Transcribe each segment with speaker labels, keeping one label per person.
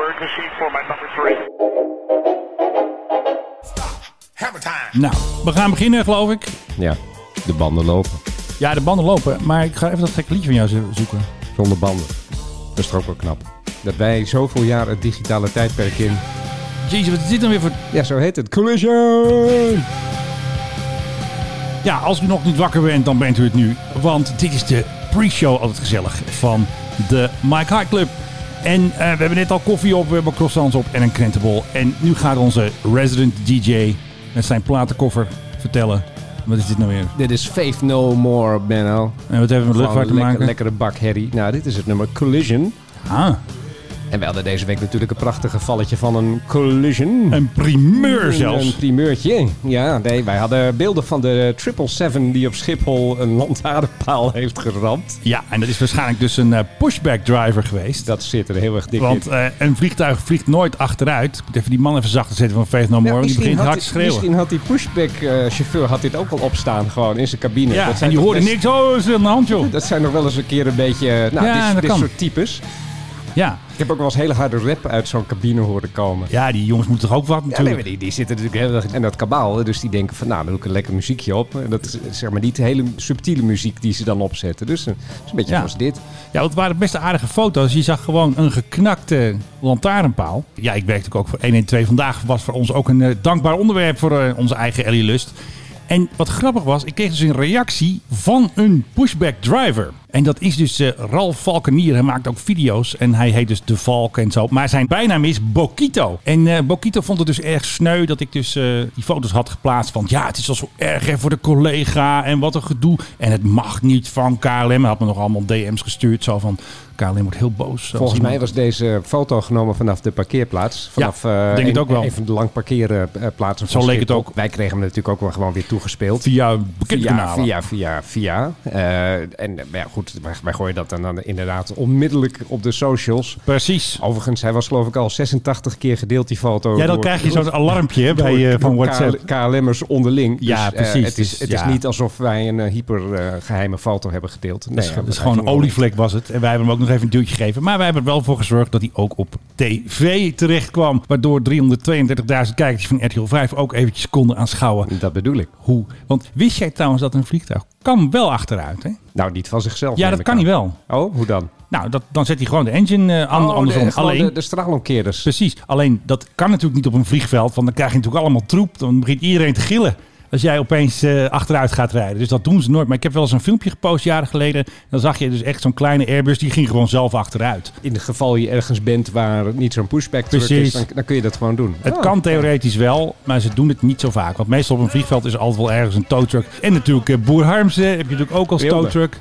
Speaker 1: emergency for my number three. Hammer time.
Speaker 2: Nou, we gaan beginnen, geloof ik.
Speaker 3: Ja, de banden lopen.
Speaker 2: Ja, de banden lopen. Maar ik ga even dat gekke liedje van jou zo- zoeken.
Speaker 3: Zonder banden. Dat is toch ook wel knap. Dat wij zoveel jaar het digitale tijdperk in.
Speaker 2: Jezus, wat is dit dan weer voor...
Speaker 3: Ja, zo heet het. Collision!
Speaker 2: Ja, als u nog niet wakker bent, dan bent u het nu. Want dit is de pre-show, altijd gezellig, van de Mike High Club. En eh, we hebben net al koffie op, we hebben croissants op en een krentenbol. En nu gaat onze resident DJ met zijn platenkoffer vertellen. Wat is dit nou weer?
Speaker 3: Dit is Faith No More, Benno.
Speaker 2: En wat hebben we met
Speaker 3: Gewoon
Speaker 2: luchtvaart te
Speaker 3: een lekker-
Speaker 2: maken?
Speaker 3: lekkere bak herrie. Nou, dit is het nummer Collision.
Speaker 2: Ah,
Speaker 3: En we hadden deze week natuurlijk een prachtig gevalletje van een collision.
Speaker 2: een primeur
Speaker 3: Een
Speaker 2: zelfs.
Speaker 3: primeurtje. Ja, nee, wij hadden beelden van de 777 die op Schiphol een lantaarnpaal heeft geramd.
Speaker 2: Ja, en dat is waarschijnlijk dus een eh, pushback driver geweest.
Speaker 3: Dat zit er heel erg dik
Speaker 2: Want
Speaker 3: in.
Speaker 2: eh, een vliegtuig vliegt nooit achteruit. Ik moet even die man even zachter zetten van Faith No More.
Speaker 3: Ja,
Speaker 2: want Nou, die begint
Speaker 3: had
Speaker 2: hard te
Speaker 3: die-
Speaker 2: schreeuwen.
Speaker 3: Misschien had die pushback-chauffeur had dit ook al opstaan gewoon in zijn cabine.
Speaker 2: ja, en
Speaker 3: zijn
Speaker 2: die
Speaker 3: toch
Speaker 2: hoorde
Speaker 3: best-
Speaker 2: niks. Oh, is er aan de hand, joh?
Speaker 3: Dat zijn nog wel eens een keer een beetje... eh, Nou,
Speaker 2: Ja,
Speaker 3: dit-
Speaker 2: dat
Speaker 3: dit,
Speaker 2: kan.
Speaker 3: soort types.
Speaker 2: Ja.
Speaker 3: Ik heb ook wel eens hele harde rap uit zo'n cabine horen komen.
Speaker 2: ja, die jongens moeten toch ook wat
Speaker 3: Ja, nee, maar
Speaker 2: natuurlijk.
Speaker 3: die, die zitten natuurlijk heel erg in dat kabaal. Dus die denken van, nou, dan doe ik een lekker muziekje op. En dat is eh, zeg maar niet de hele subtiele muziek die ze dan opzetten. Dus eh, het is een beetje
Speaker 2: Ja.
Speaker 3: zoals dit.
Speaker 2: Ja, want het waren best aardige foto's. Je zag gewoon een geknakte lantaarnpaal. Ja, ik werkte ook voor 112. Vandaag was voor ons ook een eh, dankbaar onderwerp voor eh, onze eigen Ellie Lust. En wat grappig was, ik kreeg dus een reactie van een pushback driver. En dat is dus eh, Ralf Valkenier. Hij maakt ook video's en hij heet dus De Valk en zo. Maar zijn bijnaam is Bokito. En eh, Bokito vond het dus erg sneu dat ik dus eh, die foto's had geplaatst van... Ja, het is al zo erg hè, voor de collega en wat een gedoe. En het mag niet van KLM. Hij had me nog allemaal DM's gestuurd. Zo van, KLM wordt heel boos. als
Speaker 3: Volgens
Speaker 2: iemand-
Speaker 3: mij was deze foto genomen vanaf de parkeerplaats. Vanaf,
Speaker 2: Ja,
Speaker 3: eh,
Speaker 2: denk het
Speaker 3: een-
Speaker 2: ook wel.
Speaker 3: Een van de lang parkeerplaatsen. van
Speaker 2: Zo leek het
Speaker 3: Schiphol.
Speaker 2: ook.
Speaker 3: Wij kregen hem natuurlijk ook wel gewoon weer toegespeeld.
Speaker 2: Via bekende
Speaker 3: Via,
Speaker 2: kanalen.
Speaker 3: via, via, via. Eh, en eh, maar ja, goed, wij, wij gooien dat dan, dan inderdaad onmiddellijk op de socials.
Speaker 2: Precies.
Speaker 3: Overigens, hij was geloof ik al 86 keer gedeeld, die foto.
Speaker 2: Ja, dan
Speaker 3: door-
Speaker 2: krijg je zo'n
Speaker 3: door-
Speaker 2: alarmpje hè, bij,
Speaker 3: door-
Speaker 2: eh, van
Speaker 3: door
Speaker 2: WhatsApp.
Speaker 3: KL- KLM'ers onderling. Dus,
Speaker 2: Ja,
Speaker 3: eh,
Speaker 2: precies.
Speaker 3: het is,
Speaker 2: Dus,
Speaker 3: het
Speaker 2: ja.
Speaker 3: is niet alsof wij een eh, hypergeheime foto hebben gedeeld. Nee,
Speaker 2: Het is,
Speaker 3: ja,
Speaker 2: het is
Speaker 3: hij
Speaker 2: gewoon
Speaker 3: ging
Speaker 2: een
Speaker 3: wel-
Speaker 2: olievlek was het. En wij hebben hem ook nog even een duwtje gegeven. Maar wij hebben er wel voor gezorgd dat hij ook op tv terecht kwam. Waardoor 332.000 kijkers van RTL 5 ook eventjes konden aanschouwen.
Speaker 3: Dat bedoel ik.
Speaker 2: Hoe? Want wist jij trouwens dat een vliegtuig kan wel achteruit? Hè?
Speaker 3: Nou, niet van zichzelf.
Speaker 2: Ja,
Speaker 3: neem
Speaker 2: dat
Speaker 3: ik
Speaker 2: kan
Speaker 3: aan.
Speaker 2: hij wel.
Speaker 3: Oh, hoe dan?
Speaker 2: Nou, dat, dan zet hij gewoon de engine eh, aan,
Speaker 3: Oh,
Speaker 2: andersom.
Speaker 3: De, gewoon
Speaker 2: Alleen,
Speaker 3: de, de straalomkeerders.
Speaker 2: Precies. Alleen dat kan natuurlijk niet op een vliegveld, want dan krijg je natuurlijk allemaal troep. Dan begint iedereen te gillen als jij opeens eh, achteruit gaat rijden. Dus dat doen ze nooit. Maar ik heb wel eens een filmpje gepost jaren geleden. Dan zag je dus echt zo'n kleine Airbus die ging gewoon zelf achteruit.
Speaker 3: In het geval je ergens bent waar niet zo'n pushback truck
Speaker 2: Precies.
Speaker 3: is, dan, dan kun je dat gewoon doen.
Speaker 2: Het
Speaker 3: Ah.
Speaker 2: kan theoretisch wel, maar ze doen het niet zo vaak. Want meestal op een vliegveld is er altijd wel ergens een towtruck. En natuurlijk eh, Boer Harmsen heb je natuurlijk ook als
Speaker 3: Eelde.
Speaker 2: towtruck.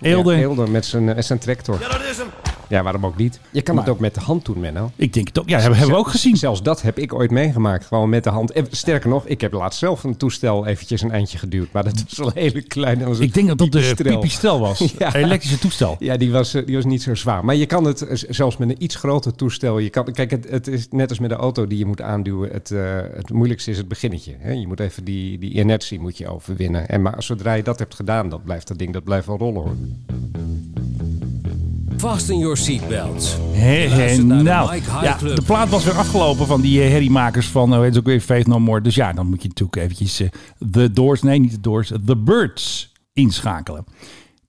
Speaker 2: Eelde.
Speaker 3: Ja, Eelder met zijn, eh, zijn tractor. Ja, waarom ook niet? Je kan het ook met de hand doen, Menno.
Speaker 2: Ik denk het ook. Ja, hebben, hebben we ook gezien.
Speaker 3: Zelfs dat heb ik ooit meegemaakt, gewoon met de hand. En sterker nog, ik heb laatst zelf een toestel eventjes een eindje geduwd. Maar dat was wel een hele kleine... als een
Speaker 2: Ik denk dat dat de
Speaker 3: pipistrel.
Speaker 2: pipistrel was.
Speaker 3: Ja.
Speaker 2: Een elektrische toestel.
Speaker 3: Ja, die was, eh, die was niet zo zwaar. Maar je kan het eh, z- zelfs met een iets groter toestel. Je kan, kijk, het, het is net als met de auto die je moet aanduwen. Het, eh, het moeilijkste is het beginnetje. Hè? Je moet even die, die inertie moet je overwinnen. En maar zodra je dat hebt gedaan, dan blijft dat ding dat blijft wel rollen hoor.
Speaker 4: Fasten your seatbelts.
Speaker 2: Hé, hé,
Speaker 4: Luister naar de
Speaker 2: nou.
Speaker 4: Mike High
Speaker 2: Ja,
Speaker 4: Club.
Speaker 2: de plaat was weer afgelopen van die eh, herriemakers van, eh, weet het ook weer, Faith No More. Dus ja, dan moet je natuurlijk eventjes eh, The Doors, nee niet The Doors, The Birds inschakelen.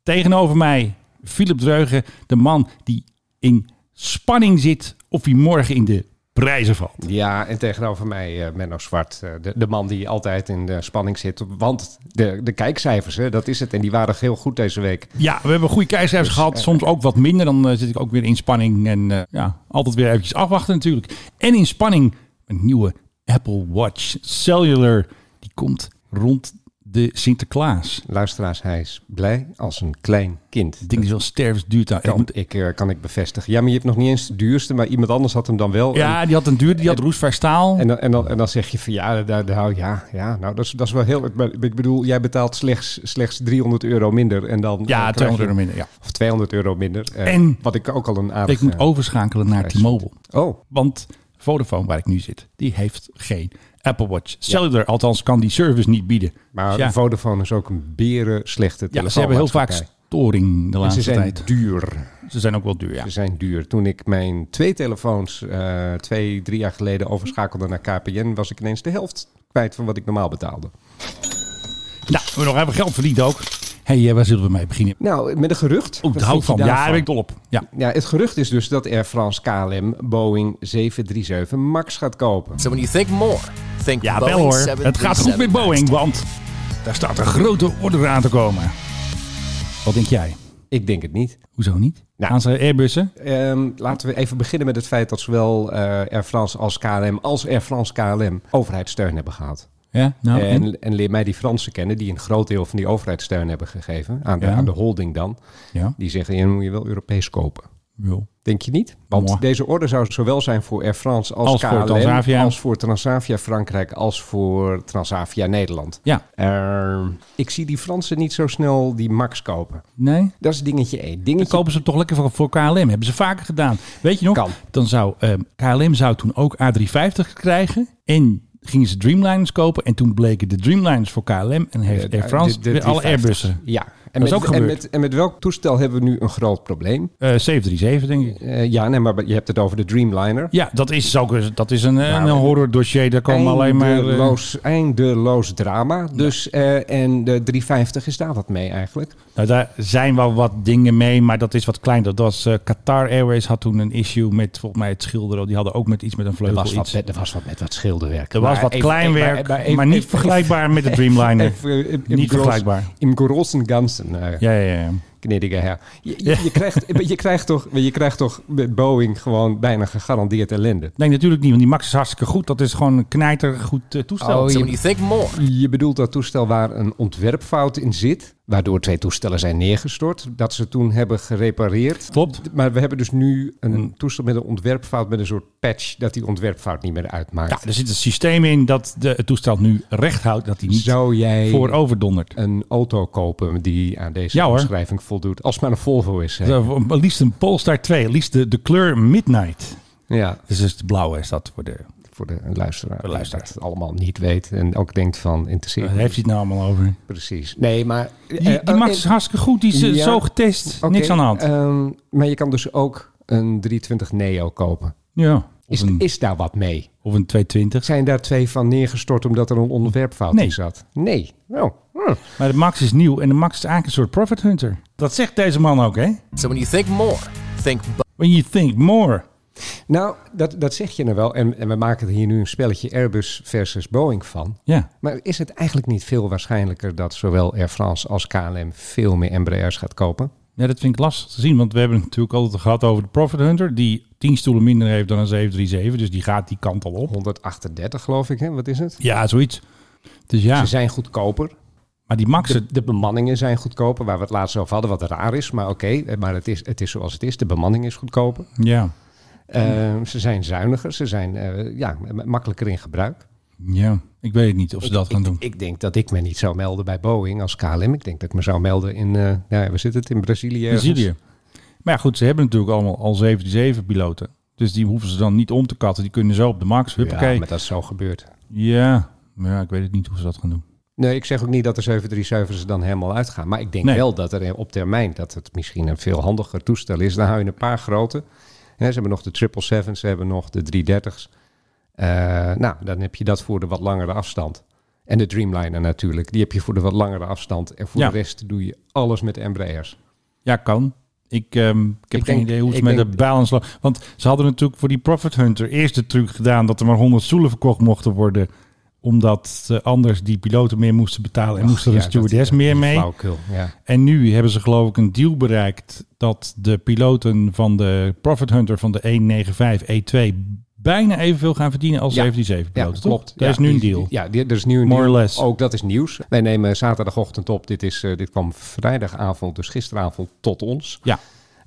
Speaker 2: Tegenover mij Philip Dreugen, de man die in spanning zit of hij morgen in de prijzen valt.
Speaker 3: Ja, en tegenover mij eh, Menno Zwart, eh, de, de man die altijd in de spanning zit. Want de, de kijkcijfers, hè, dat is het. En die waren heel goed deze week.
Speaker 2: Ja, we hebben goede keizers
Speaker 3: Dus, eh,
Speaker 2: gehad. Soms ook wat minder. Dan eh, zit ik ook weer in spanning. En eh, ja, altijd weer eventjes afwachten natuurlijk. En in spanning een nieuwe Apple Watch Cellular. Die komt rond de Sinterklaas.
Speaker 3: Luisteraars, hij is blij als een klein kind.
Speaker 2: Het ding is wel stervensduur. daar. Ik
Speaker 3: Kan
Speaker 2: moet-
Speaker 3: ik, eh, kan ik bevestigen. Ja, maar je hebt nog niet eens de duurste, maar iemand anders had hem dan wel.
Speaker 2: Ja, die had een duur. Die had roestvrij staal.
Speaker 3: En, en, dan, en, dan, en dan zeg je van ja, daar, daar, ja, ja nou, dat, is, dat is wel heel... maar Ik bedoel, jij betaalt slechts, slechts 300 euro minder en dan... eh,
Speaker 2: Ja,
Speaker 3: krijg
Speaker 2: 200 euro
Speaker 3: je-
Speaker 2: minder. Ja.
Speaker 3: Of 200 euro minder. eh,
Speaker 2: En-
Speaker 3: Wat ik ook al een aardig...
Speaker 2: Ik moet
Speaker 3: eh,
Speaker 2: overschakelen naar T-Mobile.
Speaker 3: Oh,
Speaker 2: Want Vodafone, waar ik nu zit, die heeft geen Apple Watch Cellular. Althans, kan die service niet bieden.
Speaker 3: maar
Speaker 2: Dus ja,
Speaker 3: Vodafone is ook een beren slechte
Speaker 2: ja, ze hebben heel vaak storing de
Speaker 3: En ze
Speaker 2: laatste
Speaker 3: zijn
Speaker 2: tijd.
Speaker 3: duur.
Speaker 2: Ze zijn ook wel duur, ja.
Speaker 3: Ze zijn duur. Toen ik mijn twee telefoons eh, twee, drie jaar geleden overschakelde naar KPN, was ik ineens de helft kwijt van wat ik normaal betaalde.
Speaker 2: Nou, we nog hebben geld verdiend ook. Hé, hey, eh, waar zullen we mee beginnen?
Speaker 3: Nou, met een gerucht.
Speaker 2: Oh,
Speaker 3: Wat
Speaker 2: daar hou ik
Speaker 3: vind
Speaker 2: van.
Speaker 3: je
Speaker 2: Ja, daar
Speaker 3: daarvan?
Speaker 2: ben ik dol op. Ja.
Speaker 3: Ja, het gerucht is dus dat Air France KLM Boeing 737 MAX gaat kopen.
Speaker 4: So when you think more, think
Speaker 2: Ja,
Speaker 4: Boeing
Speaker 2: wel hoor.
Speaker 4: 737
Speaker 2: Het gaat goed met Boeing, want daar staat een grote order aan te komen. Wat denk jij?
Speaker 3: Ik denk het niet.
Speaker 2: Hoezo niet?
Speaker 3: Nou.
Speaker 2: Gaan ze Airbussen?
Speaker 3: Ehm, laten we even beginnen met het feit dat zowel eh, Air France als KLM als Air France KLM overheidssteun hebben gehad.
Speaker 2: Ja, nou, en?
Speaker 3: en, en leer mij die Fransen kennen die een groot deel van die overheidssteun hebben gegeven. Aan de,
Speaker 2: Ja.
Speaker 3: aan de holding dan.
Speaker 2: Ja.
Speaker 3: Die zeggen, ja, dan moet je wel Europees kopen.
Speaker 2: Wel.
Speaker 3: Denk je niet? Want
Speaker 2: Mooi.
Speaker 3: deze orde zou zowel zijn voor Air France als,
Speaker 2: Als voor
Speaker 3: KLM,
Speaker 2: Transavia.
Speaker 3: als voor Transavia Frankrijk, als voor Transavia Nederland.
Speaker 2: Ja.
Speaker 3: Ehm, ik zie die Fransen niet zo snel die Max kopen.
Speaker 2: Nee?
Speaker 3: Dat is dingetje één.
Speaker 2: Dan
Speaker 3: Dingetje
Speaker 2: kopen ze toch lekker voor, voor KLM. Hebben ze vaker gedaan. Weet je nog?
Speaker 3: Kan.
Speaker 2: Dan zou ehm, KLM zou toen ook A350 krijgen. En gingen ze Dreamliners kopen. En toen bleken de Dreamliners voor KLM. En heeft
Speaker 3: eh,
Speaker 2: Air France
Speaker 3: de- de
Speaker 2: weer alle
Speaker 3: 350.
Speaker 2: Airbussen.
Speaker 3: Ja. En,
Speaker 2: Dat is
Speaker 3: met,
Speaker 2: ook
Speaker 3: en,
Speaker 2: gebeurd.
Speaker 3: met, en met welk toestel hebben we nu een groot probleem?
Speaker 2: Eh 737 denk ik.
Speaker 3: Eh, ja, nee, maar je hebt het over de Dreamliner.
Speaker 2: Ja, dat is, ook, dat is een, eh,
Speaker 3: Nou,
Speaker 2: een horror dossier. Daar komen alleen maar... eh,
Speaker 3: Eindeloos, eindeloos drama. Dus, eh, en de 350 is daar wat mee eigenlijk.
Speaker 2: Nou, daar zijn wel wat dingen mee, maar dat is wat klein. Dat was eh, Qatar Airways had toen een issue met volgens mij het schilderen. Die hadden ook met iets met een vleugel iets.
Speaker 3: met- er was wat met wat schilderwerk.
Speaker 2: er was
Speaker 3: Maar
Speaker 2: wat
Speaker 3: even-
Speaker 2: klein
Speaker 3: even-
Speaker 2: werk, maar,
Speaker 3: even-
Speaker 2: niet
Speaker 3: even-
Speaker 2: vergelijkbaar met de Dreamliner.
Speaker 3: even- even- even-
Speaker 2: niet
Speaker 3: gross-
Speaker 2: vergelijkbaar.
Speaker 3: Im großen Ganzen eh,
Speaker 2: Ja, ja, ja.
Speaker 3: knittige her. Je, je, je krijgt, je, krijgt toch, je krijgt toch met Boeing gewoon bijna gegarandeerd ellende.
Speaker 2: Nee, natuurlijk niet, want die Max is hartstikke goed. Dat is gewoon een knijtergoed eh, toestel.
Speaker 3: Oh,
Speaker 4: So
Speaker 3: je-
Speaker 4: when you think more,
Speaker 3: Je bedoelt dat toestel waar een ontwerpfout in zit, waardoor twee toestellen zijn neergestort, dat ze toen hebben gerepareerd.
Speaker 2: Klopt.
Speaker 3: Maar we hebben dus nu een
Speaker 2: Hmm.
Speaker 3: toestel met een ontwerpfout, met een soort patch, dat die ontwerpfout niet meer
Speaker 2: Ja,
Speaker 3: uitmaakt.
Speaker 2: er zit een systeem in dat de, het toestel nu recht houdt, dat hij niet
Speaker 3: Zou jij
Speaker 2: voorover dondert.
Speaker 3: een auto kopen die aan deze
Speaker 2: Ja, hoor.
Speaker 3: omschrijving voldoet? Als het maar een Volvo is. Hè?
Speaker 2: Zo, eh, Liefst een Polestar 2, liefst de, de kleur Midnight.
Speaker 3: Ja,
Speaker 2: Dus dat is de blauwe is dat voor de...
Speaker 3: voor de luisteraar.
Speaker 2: de luisteraar.
Speaker 3: Die het allemaal niet weet en ook denkt van interesseert
Speaker 2: Waar
Speaker 3: me
Speaker 2: heeft hij het nou allemaal over?
Speaker 3: niet. Precies. Nee, maar... eh, oh,
Speaker 2: Die, die Max is hartstikke goed. Die is eh,
Speaker 3: Ja. eh,
Speaker 2: zo getest. Niks aan de hand.
Speaker 3: maar je kan dus ook een 320 Neo kopen.
Speaker 2: ja. Of,
Speaker 3: Is,
Speaker 2: een,
Speaker 3: is daar wat mee?
Speaker 2: of een 220.
Speaker 3: Zijn daar twee van neergestort omdat er een onderwerpfout
Speaker 2: Nee.
Speaker 3: in zat? Nee. Nou, hm.
Speaker 2: Maar de Max is nieuw. En de Max is eigenlijk een soort profit hunter. Dat zegt deze man ook, hè?
Speaker 4: so when you think more, think
Speaker 2: When you think more.
Speaker 3: nou dat, dat zeg je nou wel. En, en we maken er hier nu een spelletje Airbus versus Boeing van.
Speaker 2: Ja.
Speaker 3: Maar is het eigenlijk niet veel waarschijnlijker dat zowel Air France als KLM veel meer Embraers gaat kopen?
Speaker 2: ja, dat vind ik lastig te zien. Want we hebben het natuurlijk altijd gehad over de profit hunter. Die 10 stoelen minder heeft dan een 737. Dus die gaat die kant al op.
Speaker 3: 138 geloof ik, hè? Wat is het?
Speaker 2: Ja, zoiets. Dus ja.
Speaker 3: Ze zijn goedkoper.
Speaker 2: Maar die Max...
Speaker 3: De, de bemanningen zijn goedkoper, waar we het laatst over hadden, wat raar is. Maar oké, eh, maar het is, het is zoals het is. De bemanning is goedkoper.
Speaker 2: Ja.
Speaker 3: Eh, ze zijn zuiniger, ze zijn eh, ja, ma- makkelijker in gebruik.
Speaker 2: Ja. Ik weet niet of ze dat gaan
Speaker 3: ik,
Speaker 2: doen.
Speaker 3: ik denk dat ik me niet zou melden bij Boeing als KLM. Ik denk dat ik me zou melden in, eh nou, we zitten het in Brazilië. ergens.
Speaker 2: Brazilië. Maar ja, goed, ze hebben natuurlijk allemaal al 77 piloten. Dus die hoeven ze dan niet om te katten. Die kunnen zo op de max. Huppakee.
Speaker 3: Ja, maar dat is zo gebeurd.
Speaker 2: Ja, maar ja, ik weet het niet hoe ze dat gaan doen.
Speaker 3: Nee, ik zeg ook niet dat de 737's er dan helemaal uitgaan. Maar ik denk
Speaker 2: Nee.
Speaker 3: wel dat er op termijn dat het misschien een veel handiger toestel is. Dan hou je een paar grote. Hè, ze hebben nog de 777's, ze hebben nog de 330's. Eh, nou, dan heb je dat voor de wat langere afstand. En de Dreamliner natuurlijk. Die heb je voor de wat langere afstand. En voor
Speaker 2: Ja.
Speaker 3: de rest doe je alles met Embraers.
Speaker 2: Ja, kan. Ik, ehm, ik heb
Speaker 3: Ik
Speaker 2: geen
Speaker 3: denk-
Speaker 2: idee hoe het
Speaker 3: ik
Speaker 2: met
Speaker 3: denk-
Speaker 2: de balance loopt. Want ze hadden natuurlijk voor die Profit Hunter eerst de truc gedaan dat er maar 100 stoelen verkocht mochten worden. Omdat eh, anders die piloten meer moesten betalen en moest er een
Speaker 3: Ja,
Speaker 2: stewardess
Speaker 3: dat-
Speaker 2: meer
Speaker 3: die
Speaker 2: mee.
Speaker 3: flauwekul, ja.
Speaker 2: En nu hebben ze geloof ik een deal bereikt dat de piloten van de Profit Hunter van de E 195 E2 bijna evenveel gaan verdienen als
Speaker 3: Ja.
Speaker 2: 77
Speaker 3: Ja,
Speaker 2: piloten.
Speaker 3: klopt.
Speaker 2: Daar
Speaker 3: Ja,
Speaker 2: is nu een
Speaker 3: die-
Speaker 2: deal.
Speaker 3: Ja, die, er is nu een
Speaker 2: More
Speaker 3: deal.
Speaker 2: or less.
Speaker 3: Ook dat is nieuws. Wij nemen zaterdagochtend op. Dit, is, eh, dit kwam vrijdagavond, dus gisteravond, tot ons.
Speaker 2: Ja.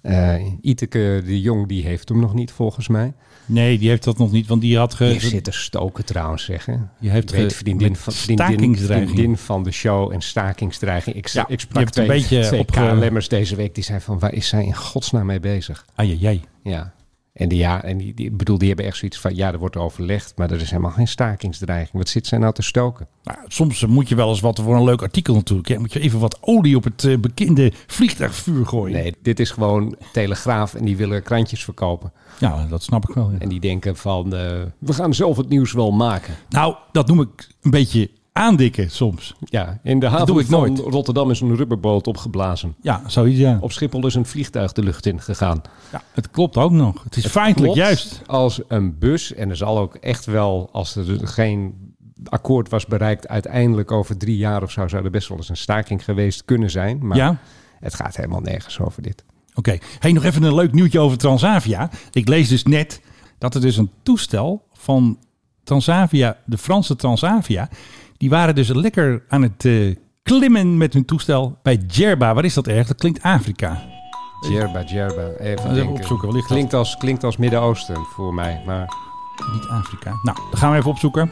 Speaker 2: Eh,
Speaker 3: Eh, Iteke de Jong, die heeft hem nog niet volgens mij.
Speaker 2: Nee, die heeft dat nog niet, want die had
Speaker 3: Die
Speaker 2: ge,
Speaker 3: zit te stoken trouwens, zeggen.
Speaker 2: Je heeft ge-
Speaker 3: vriendin,
Speaker 2: met
Speaker 3: van, vriendin,
Speaker 2: stakingsdreiging.
Speaker 3: vriendin van de show en stakingsdreiging. Ik,
Speaker 2: Ja,
Speaker 3: ik
Speaker 2: je
Speaker 3: sprak
Speaker 2: hebt
Speaker 3: twee,
Speaker 2: een beetje
Speaker 3: twee
Speaker 2: opge-
Speaker 3: KLM'ers deze week. Die zei van, waar is zij in godsnaam mee bezig?
Speaker 2: Ai, ai, ai.
Speaker 3: Ja. En, die, ja, en die, die, ik bedoel, die hebben echt zoiets van, ja, er wordt overlegd, maar er is helemaal geen stakingsdreiging. Wat zit zij nou te stoken?
Speaker 2: Nou, soms eh, moet je wel eens wat voor een leuk artikel natuurlijk. Ja, moet je even wat olie op het eh, bekende vliegtuigvuur gooien.
Speaker 3: Nee, dit is gewoon Telegraaf en die willen krantjes verkopen.
Speaker 2: Ja, dat snap ik wel. ja.
Speaker 3: En die denken van, eh, we gaan zelf het nieuws wel maken.
Speaker 2: Nou, dat noem ik een beetje aandikken soms.
Speaker 3: Ja, in de haven
Speaker 2: doe ik
Speaker 3: van
Speaker 2: nooit.
Speaker 3: Rotterdam is een rubberboot opgeblazen.
Speaker 2: Ja, zoiets ja.
Speaker 3: Op Schiphol is een vliegtuig de lucht in gegaan.
Speaker 2: ja het klopt ook nog. Het is feitelijk
Speaker 3: Klopt
Speaker 2: juist.
Speaker 3: Als een bus. En er zal ook echt wel, als er geen akkoord was bereikt, uiteindelijk over drie jaar of zo zou er best wel eens een staking geweest kunnen zijn. Maar
Speaker 2: Ja.
Speaker 3: het gaat helemaal nergens over dit.
Speaker 2: Oké, hey, nog even een leuk nieuwtje over Transavia. Ik lees dus net dat er dus een toestel van Transavia, de Franse Transavia, die waren dus lekker aan het eh, klimmen met hun toestel bij Djerba. Waar is dat erg? Dat klinkt Afrika.
Speaker 3: Djerba, Djerba. Even
Speaker 2: even
Speaker 3: denken.
Speaker 2: opzoeken, waar ligt dat?
Speaker 3: klinkt, als, klinkt als Midden-Oosten voor mij. Maar
Speaker 2: Niet Afrika. Nou, dat gaan we even opzoeken.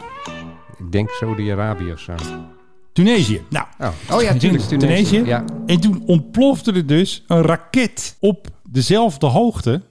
Speaker 3: ik denk Saudi-Arabië of zo.
Speaker 2: Oh. Tunesië. Nou,
Speaker 3: Oh, oh ja, tuurlijk. Tunesië. Ja.
Speaker 2: En toen ontplofte er dus een raket op dezelfde hoogte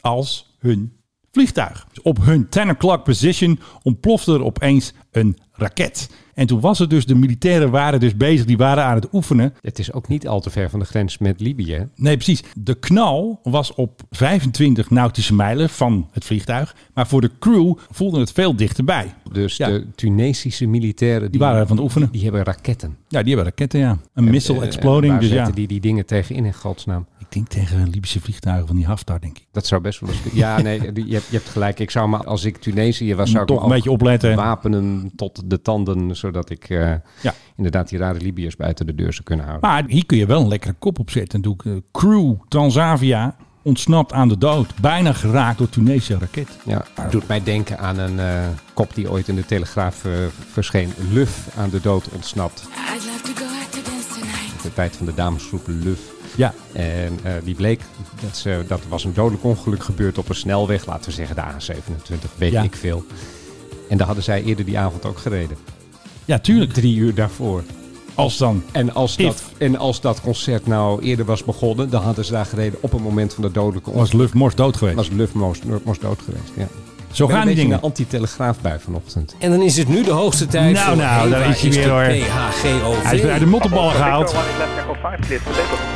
Speaker 2: als hun vliegtuig. Dus op hun 10 o'clock position ontplofte er opeens een raket. En toen was het dus, de militairen waren dus bezig, die waren aan het oefenen.
Speaker 3: Het is ook niet al te ver van de grens met Libië. hè?
Speaker 2: Nee, precies. De knal was op 25 nautische mijlen van het vliegtuig. Maar voor de crew voelde het veel dichterbij.
Speaker 3: Dus
Speaker 2: Ja.
Speaker 3: de Tunesische militairen die,
Speaker 2: Die waren van het oefenen.
Speaker 3: die hebben raketten.
Speaker 2: Ja, die hebben raketten, ja. Een missile
Speaker 3: Eh,
Speaker 2: exploding.
Speaker 3: waar
Speaker 2: Dus ja,
Speaker 3: zetten die die dingen tegen in, in godsnaam?
Speaker 2: ik denk tegen een Libische vliegtuigen van die Haftar, denk ik.
Speaker 3: Dat zou best wel eens... Ja, nee, die- je hebt, je hebt gelijk. Ik zou maar, als ik Tunesië was, zou ik
Speaker 2: Toch
Speaker 3: me
Speaker 2: een
Speaker 3: ook
Speaker 2: beetje opletten.
Speaker 3: wapenen tot de tanden, zodat ik eh,
Speaker 2: Ja.
Speaker 3: inderdaad die rare Libiërs buiten de deur zou kunnen houden.
Speaker 2: Maar hier kun je wel een lekkere kop op zetten. Doe ik, eh, crew Transavia ontsnapt aan de dood. Bijna geraakt door Tunesische raket.
Speaker 3: ja, het doet mij denken aan een eh, kop die ooit in de Telegraaf eh, verscheen. Luf aan de dood ontsnapt.
Speaker 5: I'd love to go out to dance tonight.
Speaker 3: De tijd van de damesgroep Luf.
Speaker 2: Ja,
Speaker 3: En eh, die bleek, dat, ze, dat was een dodelijk ongeluk gebeurd op een snelweg, laten we zeggen de A27, weet
Speaker 2: Ja.
Speaker 3: ik veel. En daar hadden zij eerder die avond ook gereden.
Speaker 2: ja tuurlijk.
Speaker 3: Drie uur daarvoor.
Speaker 2: Als dan.
Speaker 3: En als, dat,
Speaker 2: If.
Speaker 3: en als dat concert nou eerder was begonnen, dan hadden ze daar gereden op het moment van de dodelijke
Speaker 2: Was
Speaker 3: ongeluk.
Speaker 2: Luf Mors dood geweest.
Speaker 3: Was Luf Most, Most dood geweest, ja.
Speaker 2: Zo gaan
Speaker 3: Ik ben een
Speaker 2: die
Speaker 3: beetje
Speaker 2: dingen.
Speaker 3: een anti-telegraaf bij vanochtend.
Speaker 6: En dan is het nu de hoogste tijd
Speaker 2: Nou,
Speaker 6: voor
Speaker 2: nou, daar
Speaker 6: Eva
Speaker 2: is hij weer,
Speaker 6: de
Speaker 2: hoor.
Speaker 6: PHGOV.
Speaker 2: Hij is weer uit de mottenballen gehaald.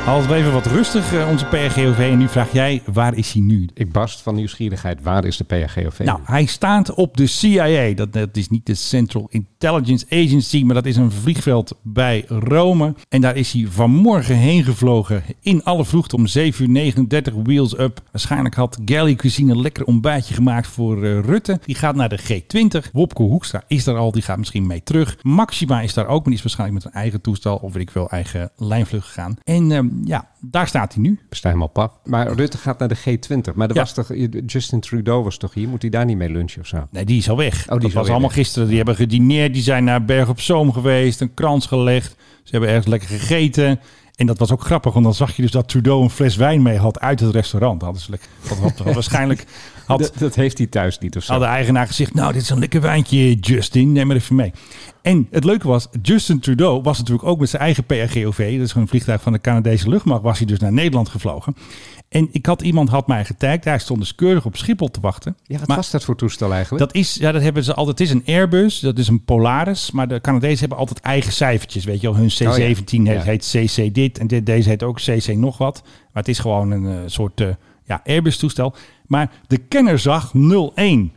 Speaker 2: Altijd even wat rustig, eh, onze PRGOV. En nu vraag jij, waar is hij nu?
Speaker 3: Ik barst van nieuwsgierigheid, waar is de PHGOV?
Speaker 2: Nou, hij staat op de CIA. Dat, dat is niet de Central Intelligence Agency, maar dat is een vliegveld bij Rome. En daar is hij vanmorgen heen gevlogen. In alle vroegte om 7 uur 39, wheels up. Waarschijnlijk had Galley Cuisine een lekker ontbijtje gemaakt voor eh, Rutte. Die gaat naar de G20. Wopke Hoekstra is daar al, die gaat misschien mee terug. Maxima is daar ook, maar die is waarschijnlijk met een eigen toestel of weet ik veel, eigen lijnvlucht gegaan. En ehm, ja, daar staat hij nu.
Speaker 3: We staan helemaal pap. Maar Rutte gaat naar de G20. Maar er
Speaker 2: Ja.
Speaker 3: was toch, Justin Trudeau was toch hier? Moet hij daar niet mee lunchen of zo?
Speaker 2: Nee, die is al weg.
Speaker 3: Oh, die is
Speaker 2: dat
Speaker 3: al
Speaker 2: was
Speaker 3: weer
Speaker 2: allemaal
Speaker 3: weg.
Speaker 2: gisteren. Die hebben gedineerd, die zijn naar Berg op Zoom geweest, een krans gelegd. Ze hebben ergens lekker gegeten. En dat was ook grappig, want dan zag je dus dat Trudeau een fles wijn mee had uit het restaurant. Dat, is lekker, dat had- waarschijnlijk had,
Speaker 3: Dat, dat heeft hij thuis niet of zo.
Speaker 2: had de eigenaar gezegd, nou dit is een lekker wijntje Justin, neem maar even mee. En het leuke was, Justin Trudeau was natuurlijk ook met zijn eigen PRGOV, dat is gewoon een vliegtuig van de Canadese luchtmacht, was hij dus naar Nederland gevlogen. En ik had, iemand had mij getagd, hij stond dus keurig op Schiphol te wachten.
Speaker 3: Ja, wat
Speaker 2: Maar-
Speaker 3: was dat voor toestel eigenlijk?
Speaker 2: dat is, ja, dat hebben ze altijd. Het is een Airbus, dat is een Polaris. Maar de Canadezen hebben altijd eigen cijfertjes. Weet je wel, hun C17
Speaker 3: Oh ja.
Speaker 2: heet, heet CC dit en dit, deze heet ook CC nog wat. Maar het is gewoon een eh, soort eh, ja, Airbus-toestel. Maar de kenner zag 01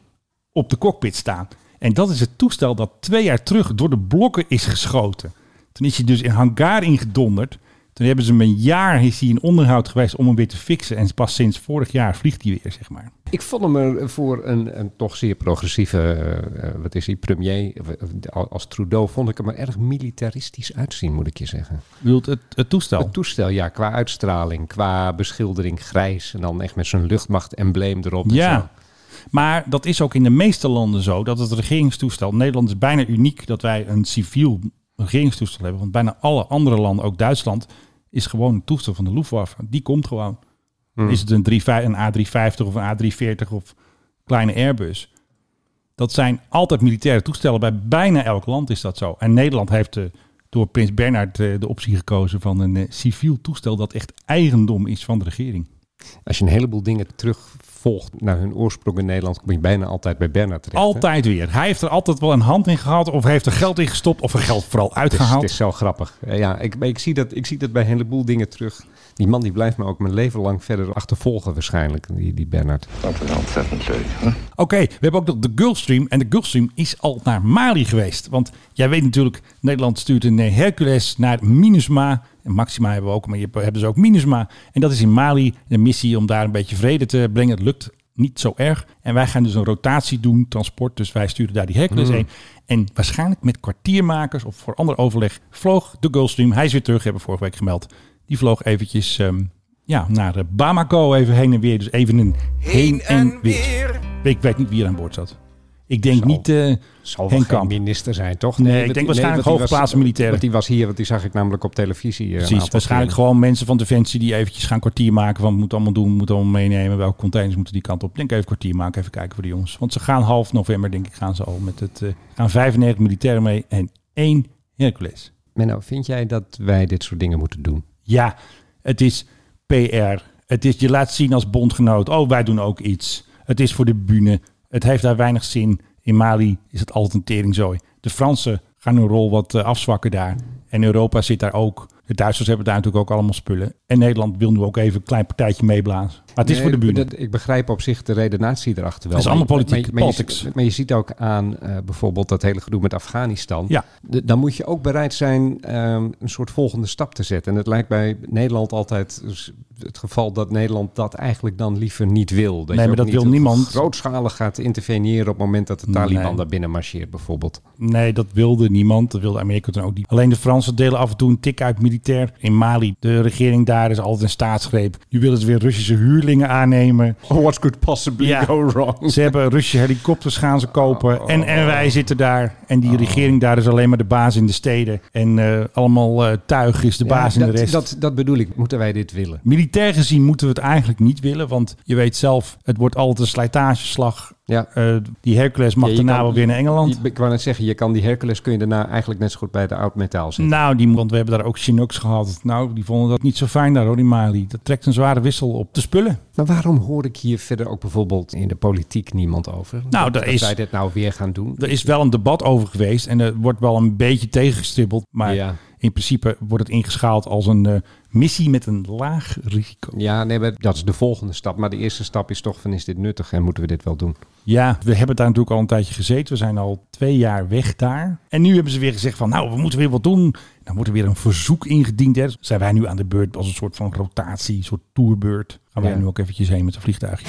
Speaker 2: op de cockpit staan. En dat is het toestel dat twee jaar terug door de blokken is geschoten. Toen is hij dus in hangar ingedonderd. Toen hebben ze hem een jaar is hij in onderhoud geweest om hem weer te fixen. En pas sinds vorig jaar vliegt hij weer, zeg maar.
Speaker 3: Ik vond hem er voor een, een toch zeer progressieve, eh, eh, wat is hij, premier, eh, als Trudeau, vond ik hem er erg militaristisch uitzien, moet ik je zeggen.
Speaker 2: Ik bedoel, het, het toestel.
Speaker 3: Het toestel, ja, qua uitstraling, qua beschildering grijs en dan echt met zo'n luchtmacht-embleem erop. en zo.
Speaker 2: Ja. Maar dat is ook in de meeste landen zo dat het regeringstoestel. Nederland is bijna uniek dat wij een civiel regeringstoestel hebben. Want bijna alle andere landen, ook Duitsland, is gewoon een toestel van de Luftwaffe. Die komt gewoon.
Speaker 3: Hmm.
Speaker 2: Is het een, 3, een A350 of een A340 of kleine Airbus? Dat zijn altijd militaire toestellen. Bij bijna elk land is dat zo. En Nederland heeft eh, door Prins Bernhard eh, de optie gekozen van een eh, civiel toestel dat echt eigendom is van de regering.
Speaker 3: Als je een heleboel dingen terugvoert volgt naar hun oorsprong in Nederland, kom je bijna altijd bij Berna terecht. hè?
Speaker 2: Altijd weer. Hij heeft er altijd wel een hand in gehad. Of heeft er geld in gestopt. Of er geld vooral
Speaker 3: Het is, het
Speaker 2: uitgehaald.
Speaker 3: is zo grappig. Eh, ja, ik, maar ik, zie dat, ik zie dat bij een heleboel dingen terug. Die man die blijft me ook mijn leven lang verder achtervolgen waarschijnlijk, die, die Bernard.
Speaker 2: Oké, we hebben ook nog de Gulfstream. En de Gulfstream is al naar Mali geweest. Want jij weet natuurlijk, Nederland stuurt een eh, Hercules naar Minusma. En Maxima hebben we ook, maar je hebt- hebben ze ook Minusma. En dat is in Mali een missie om daar een beetje vrede te brengen. Het lukt niet zo erg. En wij gaan dus een rotatie doen, transport. Dus wij sturen daar die Hercules heen. En waarschijnlijk met kwartiermakers of voor ander overleg vloog de Gulfstream. Hij is weer terug, hebben we vorige week gemeld. Die vloog eventjes ehm, ja, naar eh, Bamako, even heen en weer. Dus even een heen en weer. Ik weet niet wie er aan boord zat. Ik denk niet eh
Speaker 3: Zal wel
Speaker 2: Henk
Speaker 3: geen
Speaker 2: Kamp.
Speaker 3: minister zijn, toch?
Speaker 2: Nee,
Speaker 3: want
Speaker 2: ik denk
Speaker 3: die-
Speaker 2: waarschijnlijk
Speaker 3: want die was-
Speaker 2: hooggeplaatste militairen.
Speaker 3: Want die was hier, want die zag ik namelijk op televisie. eh, een
Speaker 2: Precies,
Speaker 3: aantal
Speaker 2: waarschijnlijk
Speaker 3: keer.
Speaker 2: gewoon mensen van Defensie die eventjes gaan kwartier maken. Van moet allemaal doen, moet allemaal meenemen. Welke containers moeten die kant op? Ik Denk even kwartier maken, even kijken voor de jongens. Want ze gaan half november, denk ik, gaan ze al met het. eh, gaan 95 militairen mee en één Hercules.
Speaker 3: Menno, vind jij dat wij dit soort dingen moeten doen?
Speaker 2: Ja, het is PR. Het is je laat zien als bondgenoot. Oh, wij doen ook iets. Het is voor de bühne. Het heeft daar weinig zin. In Mali is het altijd een teringzooi. De Fransen gaan hun rol wat eh, afzwakken daar. En Europa zit daar ook. De Duitsers hebben daar natuurlijk ook allemaal spullen. En Nederland wil nu ook even een klein partijtje meeblazen. Maar het is
Speaker 3: Nee,
Speaker 2: voor de bühne.
Speaker 3: dat- ik begrijp op zich de redenatie erachter wel.
Speaker 2: Het is
Speaker 3: Maar-
Speaker 2: allemaal politiek,
Speaker 3: maar- maar je-
Speaker 2: politics.
Speaker 3: Maar je, ziet ook aan eh, bijvoorbeeld dat hele gedoe met Afghanistan.
Speaker 2: Ja.
Speaker 3: De- dan moet je ook bereid zijn ehm, een soort volgende stap te zetten. En het lijkt bij Nederland altijd s- het geval dat Nederland dat eigenlijk dan liever niet wil. Dat je
Speaker 2: maar
Speaker 3: ook
Speaker 2: dat
Speaker 3: niet
Speaker 2: wil niemand.
Speaker 3: grootschalig gaat interveneren op het moment dat de Taliban
Speaker 2: Nee.
Speaker 3: daar binnen marcheert bijvoorbeeld.
Speaker 2: Nee, dat wilde niemand. Dat wilde Amerika toen ook niet. Alleen de Fransen delen af en toe een tik uit militair. In Mali, de regering daar is altijd een staatsgreep. Nu willen ze weer Russische huurlingen aannemen.
Speaker 3: what could possibly
Speaker 2: Ja.
Speaker 3: go wrong?
Speaker 2: Ze hebben Russische helikopters gaan ze kopen.
Speaker 3: Oh.
Speaker 2: En, en wij zitten daar. En die regering daar is alleen maar de baas in de steden. En eh, allemaal eh, tuig is de baas
Speaker 3: Ja,
Speaker 2: in de
Speaker 3: dat,
Speaker 2: rest.
Speaker 3: dat, dat bedoel ik. Moeten wij dit willen?
Speaker 2: Militair gezien moeten we het eigenlijk niet willen. Want je weet zelf, het wordt altijd een slijtageslag.
Speaker 3: Ja.
Speaker 2: Eh, die Hercules mag
Speaker 3: Ja, je
Speaker 2: daarna
Speaker 3: kan-
Speaker 2: wel weer naar Engeland.
Speaker 3: Ik, ik wou net zeggen, je kan die Hercules kun je daarna eigenlijk net zo goed bij de oud metaal zetten.
Speaker 2: Nou, die, want we hebben daar ook Chinooks gehad. Nou, die vonden dat niet zo fijn daar hoor, in Mali. Dat trekt een zware wissel op de spullen.
Speaker 3: Maar waarom hoor ik hier verder ook bijvoorbeeld in de politiek niemand over?
Speaker 2: Nou,
Speaker 3: dat,
Speaker 2: daar
Speaker 3: dat
Speaker 2: is-
Speaker 3: wij dit nou weer gaan doen.
Speaker 2: Er is wel een debat over geweest en er wordt wel een beetje tegengestribbeld. Maar
Speaker 3: Ja.
Speaker 2: in principe wordt het ingeschaald als een eh, missie met een laag risico.
Speaker 3: Ja, nee, maar dat is de volgende stap. Maar de eerste stap is toch van is dit nuttig en moeten we dit wel doen?
Speaker 2: Ja, we hebben daar natuurlijk al een tijdje gezeten. We zijn al twee jaar weg daar. En nu hebben ze weer gezegd van, nou, we moeten weer wat doen. Dan wordt er weer een verzoek ingediend. Hè. Zijn wij nu aan de beurt als een soort van rotatie, een soort tourbeurt. Gaan wij
Speaker 3: Ja.
Speaker 2: nu ook eventjes heen met een vliegtuigje.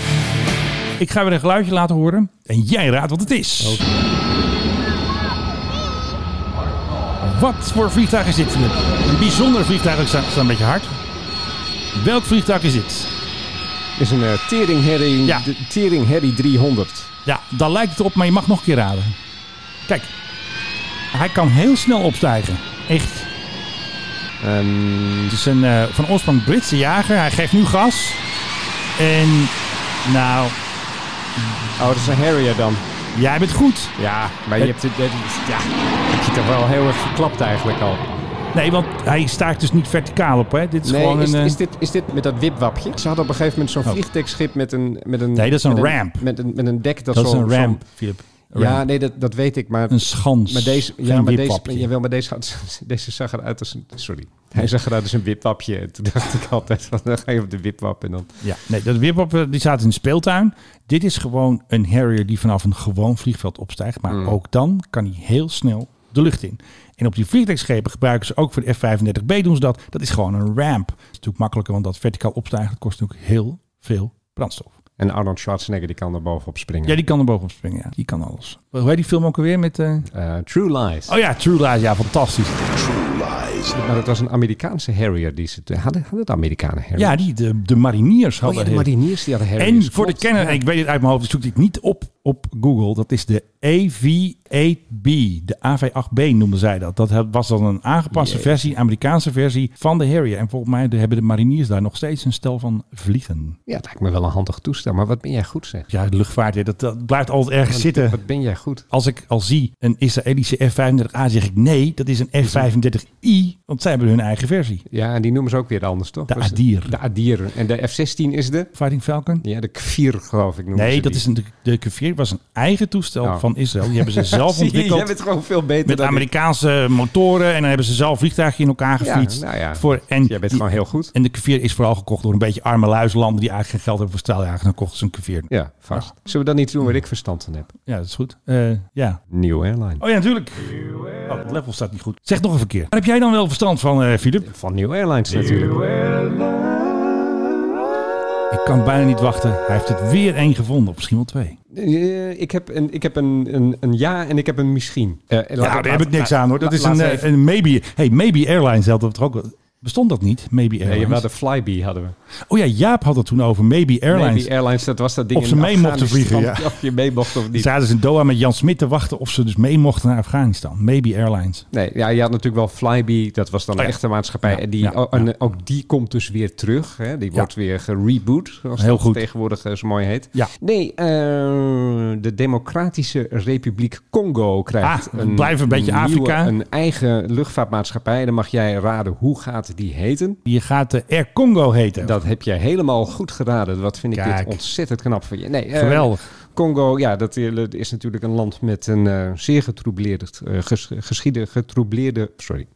Speaker 2: Ik ga weer een geluidje laten horen. En jij raadt wat het is. Wat voor vliegtuig is dit? Philip? Een bijzonder vliegtuig. Ik sta, ik sta een beetje hard. Welk vliegtuig is dit?
Speaker 3: Is een eh, Tering Harry,
Speaker 2: Ja.
Speaker 3: de Tering Harry 300.
Speaker 2: Ja, daar lijkt het op, maar je mag nog een keer raden. Kijk, hij kan heel snel opstijgen. Echt.
Speaker 3: Ehm,
Speaker 2: Het is een eh, van oorsprong Britse jager. Hij geeft nu gas. En nou,
Speaker 3: oh, dat is een Harrier dan.
Speaker 2: jij bent goed.
Speaker 3: Ja, maar je hebt het, dit- ja, heb je toch wel heel erg verklapt eigenlijk al.
Speaker 2: Nee, want hij staat dus niet verticaal op. Hè? Dit is
Speaker 3: Nee,
Speaker 2: gewoon
Speaker 3: is,
Speaker 2: een... eh,
Speaker 3: is, dit, is dit met dat wipwapje? Ze hadden op een gegeven moment zo'n
Speaker 2: Oh.
Speaker 3: vliegdekschip met een... Met een
Speaker 2: Nee, dat is een
Speaker 3: met
Speaker 2: ramp.
Speaker 3: met, een, met een dek dat,
Speaker 2: dat is
Speaker 3: zo...
Speaker 2: een
Speaker 3: zo-
Speaker 2: ramp, Philip. Een
Speaker 3: Ja,
Speaker 2: ramp.
Speaker 3: nee, dat, dat weet ik, maar...
Speaker 2: Een schans.
Speaker 3: Maar deze,
Speaker 2: Geen
Speaker 3: ja, maar deze,
Speaker 2: wipwapje.
Speaker 3: jawel, maar deze, had- deze zag eruit als een... Sorry. Hij zag eruit als een wipwapje. En Toen dacht ik altijd, van, dan ga je op de wipwap en dan...
Speaker 2: Ja, nee, dat wipwap eh, die staat in de speeltuin. Dit is gewoon een Harrier die vanaf een gewoon vliegveld opstijgt. Maar ook dan kan hij heel snel de lucht in. En op die vliegtuigschepen gebruiken ze ook voor de F-35B doen ze dat. Dat is gewoon een ramp. Dat is natuurlijk makkelijker, want dat verticaal opstijgen dat kost natuurlijk heel veel brandstof.
Speaker 3: En Arnold Schwarzenegger, die kan er bovenop springen.
Speaker 2: Ja, die kan er bovenop springen. Ja, die kan alles. Hoe heet die film ook alweer met... eh,
Speaker 3: Eh, True Lies.
Speaker 2: Oh ja, True Lies. Ja, fantastisch.
Speaker 3: Maar dat was een Amerikaanse Harrier die ze... Hadden, hadden de Amerikanen Harrier?
Speaker 2: Ja, die, de, de mariniers hadden...
Speaker 3: Oh ja, de mariniers die hadden Harriers.
Speaker 2: En voor de
Speaker 3: Klopt.
Speaker 2: kenner, en ik weet het uit mijn hoofd, dus zoek ik niet op. op Google. Dat is de AV8B. De AV8B noemden zij dat. Dat he- was dan een aangepaste versie, Amerikaanse versie van de Harrier. En volgens mij de- hebben de mariniers daar nog steeds een stel van vliegen.
Speaker 3: Ja, het lijkt me wel een handig toestel. Maar wat ben jij goed zeg.
Speaker 2: Ja, de luchtvaart, hè, dat, dat blijft altijd ergens zitten.
Speaker 3: Wat ben jij goed.
Speaker 2: Als ik al zie een Israëlische F-35A, zeg ik nee, dat is een F-35I. Want zij hebben hun eigen versie.
Speaker 3: Ja, en die noemen ze ook weer anders, toch?
Speaker 2: De
Speaker 3: Was het-
Speaker 2: Adir.
Speaker 3: De Adir. En de F-16 is de?
Speaker 2: Fighting Falcon.
Speaker 3: Ja, de Kfir, geloof ik noemen
Speaker 2: Nee,
Speaker 3: ze
Speaker 2: dat
Speaker 3: die.
Speaker 2: is een, de Q4 was een eigen toestel
Speaker 3: Oh.
Speaker 2: van Israël. Die hebben ze zelf
Speaker 3: Zie je, Jij
Speaker 2: ontwikkeld.
Speaker 3: bent gewoon veel beter
Speaker 2: met
Speaker 3: dan ik.
Speaker 2: Amerikaanse motoren. En dan hebben ze zelf vliegtuigen in elkaar gefietst.
Speaker 3: nou ja.
Speaker 2: voor, en,
Speaker 3: Jij bent
Speaker 2: die-
Speaker 3: gewoon heel goed.
Speaker 2: en de Q4 is vooral gekocht door een beetje arme luislanden die eigenlijk geen geld hebben voor straaljagen. Dan kochten ze een Q4. Ja,
Speaker 3: Ja, vast. Zullen we dan iets doen waar ik verstand van heb?
Speaker 2: dat is goed. Eh, ja.
Speaker 3: Nieuw airline.
Speaker 2: Oh ja, natuurlijk. Oh, het level staat niet goed. Zeg nog een keer. Waar heb jij dan wel verstand van, eh Filip?
Speaker 3: Van Nieuw Airlines natuurlijk.
Speaker 2: Ik kan bijna niet wachten. Hij heeft het weer één gevonden. Of misschien wel twee.
Speaker 3: Eh, ik heb, een, ik heb een, een, een ja en ik heb een misschien. Eh, laat-
Speaker 2: Ja,
Speaker 3: laat-
Speaker 2: Nou, daar heb ik niks
Speaker 3: laat-
Speaker 2: aan hoor. Dat
Speaker 3: laat-
Speaker 2: is
Speaker 3: laat
Speaker 2: een,
Speaker 3: even-
Speaker 2: eh, een maybe. Hey, maybe Airlines hadden we het er ook. wel- Bestond dat niet? Maybe Airlines.
Speaker 3: Nee, we hadden Flybe hadden we.
Speaker 2: Oh ja, Jaap had het toen over Maybe Airlines.
Speaker 3: Navy Airlines, dat was dat ding
Speaker 2: Of ze
Speaker 3: in
Speaker 2: mee mochten
Speaker 3: Afghanistan,
Speaker 2: vliegen, ja.
Speaker 3: Of je mee mocht of niet.
Speaker 2: Zaten ze in Doha met Jan Smit te wachten of ze dus mee mochten naar Afghanistan. Maybe Airlines.
Speaker 3: Nee, ja, je had natuurlijk wel Flybe, dat was dan
Speaker 2: Oh
Speaker 3: een
Speaker 2: ja.
Speaker 3: echte maatschappij.
Speaker 2: Ja,
Speaker 3: en, die,
Speaker 2: ja,
Speaker 3: oh, en ook die komt dus weer terug. Hè? Die
Speaker 2: Ja.
Speaker 3: wordt weer gereboot, zoals
Speaker 2: Heel
Speaker 3: dat
Speaker 2: goed.
Speaker 3: tegenwoordig eh, zo mooi heet.
Speaker 2: Ja.
Speaker 3: Nee, eh, de Democratische Republiek Congo krijgt
Speaker 2: Ah, blijf een beetje Afrika.
Speaker 3: Een eigen luchtvaartmaatschappij. En dan mag jij raden, hoe gaat die heten?
Speaker 2: Die gaat de Air Congo heten.
Speaker 3: Dat heb jij helemaal goed geraden. Wat vind ik
Speaker 2: Kijk.
Speaker 3: dit ontzettend knap van je. Nee, eh,
Speaker 2: Geweldig.
Speaker 3: Congo, ja, dat is natuurlijk een land met een eh, zeer getroubleerd, eh, ges, geschieden, getroubleerde, sorry.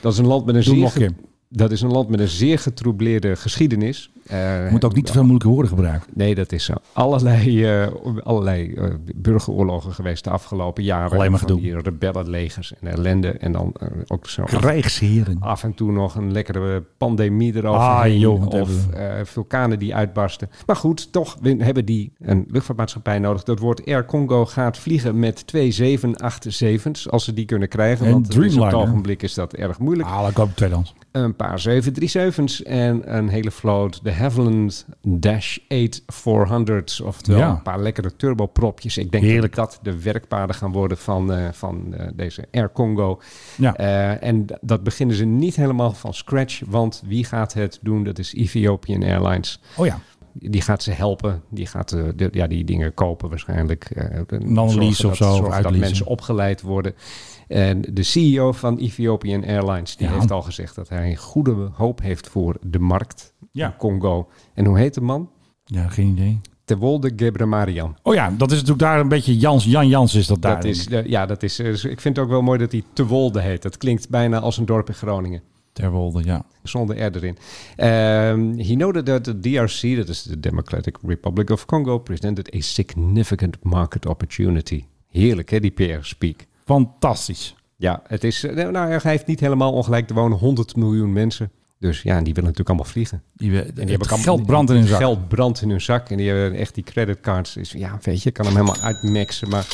Speaker 3: Dat is een land met een
Speaker 2: Doe hem
Speaker 3: zeer
Speaker 2: nog een
Speaker 3: ge-
Speaker 2: keer.
Speaker 3: dat is een land met een zeer getroubleerde geschiedenis. Eh,
Speaker 2: Moet ook niet te veel moeilijke woorden gebruiken.
Speaker 3: Nee, dat is zo. Allerlei, eh, allerlei eh, burgeroorlogen geweest de afgelopen jaren.
Speaker 2: Alleen maar
Speaker 3: Van
Speaker 2: gedoe.
Speaker 3: Die rebellenlegers en ellende. En dan eh, ook zo
Speaker 2: Krijgsheren.
Speaker 3: af en toe nog een lekkere pandemie erover.
Speaker 2: Ah, joh, wat
Speaker 3: of
Speaker 2: hebben
Speaker 3: eh, vulkanen die uitbarsten. Maar goed, toch we- hebben die een luchtvaartmaatschappij nodig. Dat woord Air Congo gaat vliegen met twee 787's. Als ze die kunnen krijgen.
Speaker 2: En
Speaker 3: want op
Speaker 2: Dreamliner.
Speaker 3: het ogenblik is dat erg moeilijk.
Speaker 2: Ah, dan koop ik tweedehands.
Speaker 3: Een paar 737's en een hele vloot. De Havilland Dash 8 400's. Oftewel
Speaker 2: Ja.
Speaker 3: een paar lekkere turbopropjes. Ik denk
Speaker 2: Heerlijk.
Speaker 3: dat dat de werkpaden gaan worden van, eh, van eh, deze Air Congo.
Speaker 2: Ja.
Speaker 3: Eh, en d- dat beginnen ze niet helemaal van scratch, want wie gaat het doen? Dat is Ethiopian Airlines.
Speaker 2: Oh ja.
Speaker 3: Die gaat ze helpen. Die gaat eh, de- ja, die dingen kopen waarschijnlijk. eh, en
Speaker 2: lease
Speaker 3: zorgen
Speaker 2: of
Speaker 3: dat-
Speaker 2: zo, of
Speaker 3: Zorgen dat
Speaker 2: uitleasen.
Speaker 3: mensen opgeleid worden. En de CEO van Ethiopian Airlines die
Speaker 2: Ja.
Speaker 3: heeft al gezegd dat hij goede hoop heeft voor de markt
Speaker 2: Ja.
Speaker 3: in Congo. En hoe heet de man?
Speaker 2: Ja, geen idee.
Speaker 3: Tewolde Gebremarian.
Speaker 2: Oh ja, dat is natuurlijk daar een beetje Jans, Jan Jans is dat daar.
Speaker 3: Dat is, eh, ja, dat is, eh, dus ik vind het ook wel mooi dat hij Tewolde heet. Dat klinkt bijna als een dorp in Groningen.
Speaker 2: Terwolde, ja.
Speaker 3: Zonder R erin. Um, he noted that the DRC, that is the Democratic Republic of Congo, presented a significant market opportunity. Heerlijk, hè, die PR-speak.
Speaker 2: Fantastisch.
Speaker 3: Ja, het is, eh, nou, hij heeft niet helemaal ongelijk. Er wonen 100 miljoen mensen. Dus ja, en die willen natuurlijk allemaal vliegen.
Speaker 2: Die, we-
Speaker 3: En die
Speaker 2: het
Speaker 3: allemaal-
Speaker 2: geld brandt in hun
Speaker 3: het
Speaker 2: zak.
Speaker 3: Geld brandt in hun zak. En die hebben echt die creditcards. Dus ja, weet je, ik kan hem helemaal uitmaxen. Maar,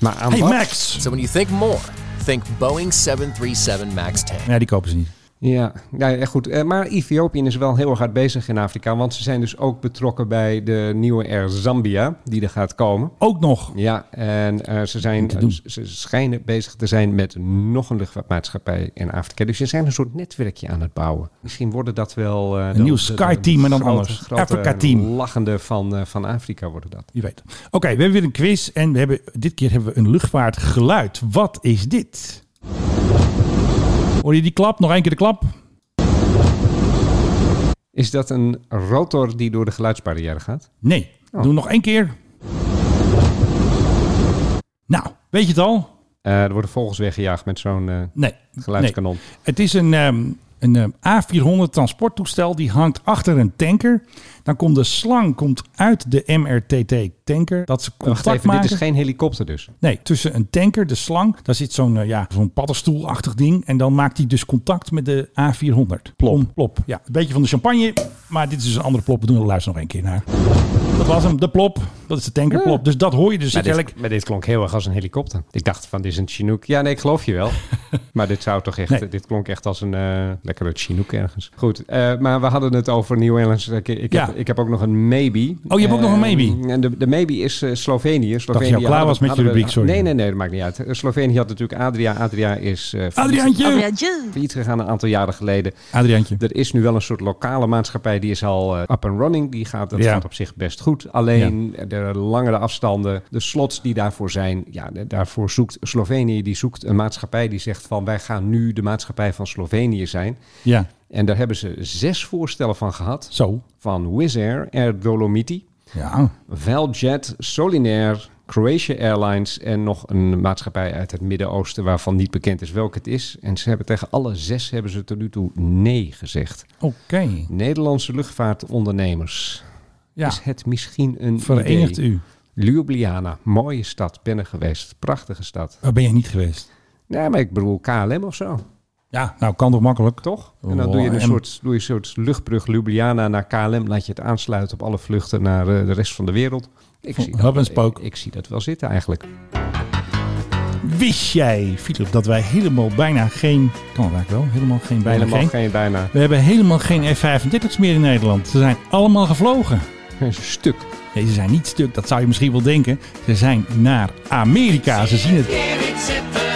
Speaker 3: maar aan
Speaker 2: Hey
Speaker 3: wat?
Speaker 2: Max!
Speaker 4: So when you think more, think Boeing 737 MAX 10.
Speaker 2: Ja, die kopen ze niet.
Speaker 3: Ja, ja ja, goed. Eh, Maar Ethiopië is wel heel erg hard bezig in Afrika. Want ze zijn dus ook betrokken bij de nieuwe Air Zambia die er gaat komen.
Speaker 2: Ook nog.
Speaker 3: Ja, en eh, ze, zijn,
Speaker 2: Te doen.
Speaker 3: ze- ze schijnen bezig te zijn met nog een luchtvaartmaatschappij in Afrika. Dus ze zijn een soort netwerkje aan het bouwen. Misschien worden dat wel... eh, de-
Speaker 2: nieuw
Speaker 3: de-
Speaker 2: Sky-team, maar dan
Speaker 3: grote-
Speaker 2: anders.
Speaker 3: grote
Speaker 2: Afrika-team.
Speaker 3: lachende van, eh, van Afrika worden dat.
Speaker 2: Je weet. Oké, we hebben weer een quiz. En we hebben, dit keer hebben we een luchtvaartgeluid. Wat is dit? Hoor je die klap? Nog één keer de klap?
Speaker 3: Is dat een rotor die door de geluidsbarrière gaat?
Speaker 2: Nee.
Speaker 3: Oh.
Speaker 2: Doe nog één keer. Nou, weet je het al?
Speaker 3: Eh, er worden vogels weggejaagd met zo'n eh,
Speaker 2: Nee. nee.
Speaker 3: geluidskanon.
Speaker 2: Het is een, ehm, een ehm, A400 transporttoestel. Die hangt achter een tanker. Dan komt de slang komt uit de MRTT tanker. Dat ze
Speaker 3: Wacht
Speaker 2: contact
Speaker 3: even,
Speaker 2: maken.
Speaker 3: dit is geen helikopter dus.
Speaker 2: Nee, tussen een tanker, de slang, daar zit zo'n eh, ja, zo'n paddenstoelachtig ding. En dan maakt hij dus contact met de A400. Plop. plop. Ja, een beetje van de champagne. Maar dit is dus een andere plop. We doen er luister nog één keer naar. Dat was hem, de plop. Dat is de tankerplop. Dus dat hoor je dus
Speaker 3: Maar dit,
Speaker 2: eigenlijk.
Speaker 3: maar dit klonk heel erg als een helikopter. Ik dacht van, dit is een Chinook. Ja, nee, ik geloof je wel. Maar dit zou toch echt,
Speaker 2: Nee.
Speaker 3: dit klonk echt als een eh lekkere Chinook ergens. Goed, eh, maar we hadden het over New Orleans. Ik, ik,
Speaker 2: Ja.
Speaker 3: heb, ik heb ook nog een maybe.
Speaker 2: Oh, je hebt ook nog een maybe?
Speaker 3: Eh, En de, de maybe is eh, Slovenië. Slovenië
Speaker 2: je al klaar
Speaker 3: hadden-
Speaker 2: was met je
Speaker 3: hadden we-
Speaker 2: rubriek, sorry.
Speaker 3: Nee, nee, nee, dat maakt niet uit. Eh, Slovenië had natuurlijk Adria. Adria is eh,
Speaker 2: Adriaantje!
Speaker 3: failliet gegaan een aantal jaren geleden.
Speaker 2: Adriaantje.
Speaker 3: Er is nu wel een soort lokale maatschappij die is al eh, up and running. Die gaat, dat
Speaker 2: Ja.
Speaker 3: gaat op zich best goed. Alleen eh, de langere afstanden, de slots die daarvoor zijn, ja, de- daarvoor zoekt Slovenië die zoekt een maatschappij die zegt van wij gaan nu de maatschappij van Slovenië zijn.
Speaker 2: Ja,
Speaker 3: En daar hebben ze zes voorstellen van gehad
Speaker 2: zo.
Speaker 3: van Wizz Air, Air Dolomiti,
Speaker 2: Ja.
Speaker 3: Valjet, Solinair, Croatia Airlines en nog een maatschappij uit het Midden-Oosten waarvan niet bekend is welke het is. En ze hebben tegen alle zes hebben ze tot nu toe nee gezegd.
Speaker 2: Oké.
Speaker 3: Nederlandse luchtvaartondernemers.
Speaker 2: Ja.
Speaker 3: Is het misschien een
Speaker 2: Verenigt
Speaker 3: idee?
Speaker 2: u.
Speaker 3: Ljubljana, mooie stad, ben er geweest. Prachtige stad.
Speaker 2: Waar ben je niet geweest?
Speaker 3: Nee, maar ik bedoel KLM of zo,
Speaker 2: Ja, nou kan toch makkelijk.
Speaker 3: toch? En dan doe je een soort, doe je een soort luchtbrug Ljubljana naar KLM. Laat je het aansluiten op alle vluchten naar eh, de rest van de wereld. Ik zie,
Speaker 2: Hub en
Speaker 3: dat,
Speaker 2: spook.
Speaker 3: ik, ik zie dat wel zitten eigenlijk.
Speaker 2: Wist jij, Philip, dat wij helemaal bijna geen... Kan het eigenlijk wel, helemaal geen bijna
Speaker 3: Helemaal
Speaker 2: geen.
Speaker 3: geen bijna.
Speaker 2: We hebben helemaal geen F-35's meer in Nederland. Ze zijn allemaal gevlogen.
Speaker 3: Een stuk.
Speaker 2: Nee, ze zijn niet stuk, dat zou je misschien wel denken. Ze zijn naar Amerika. Ze zien het.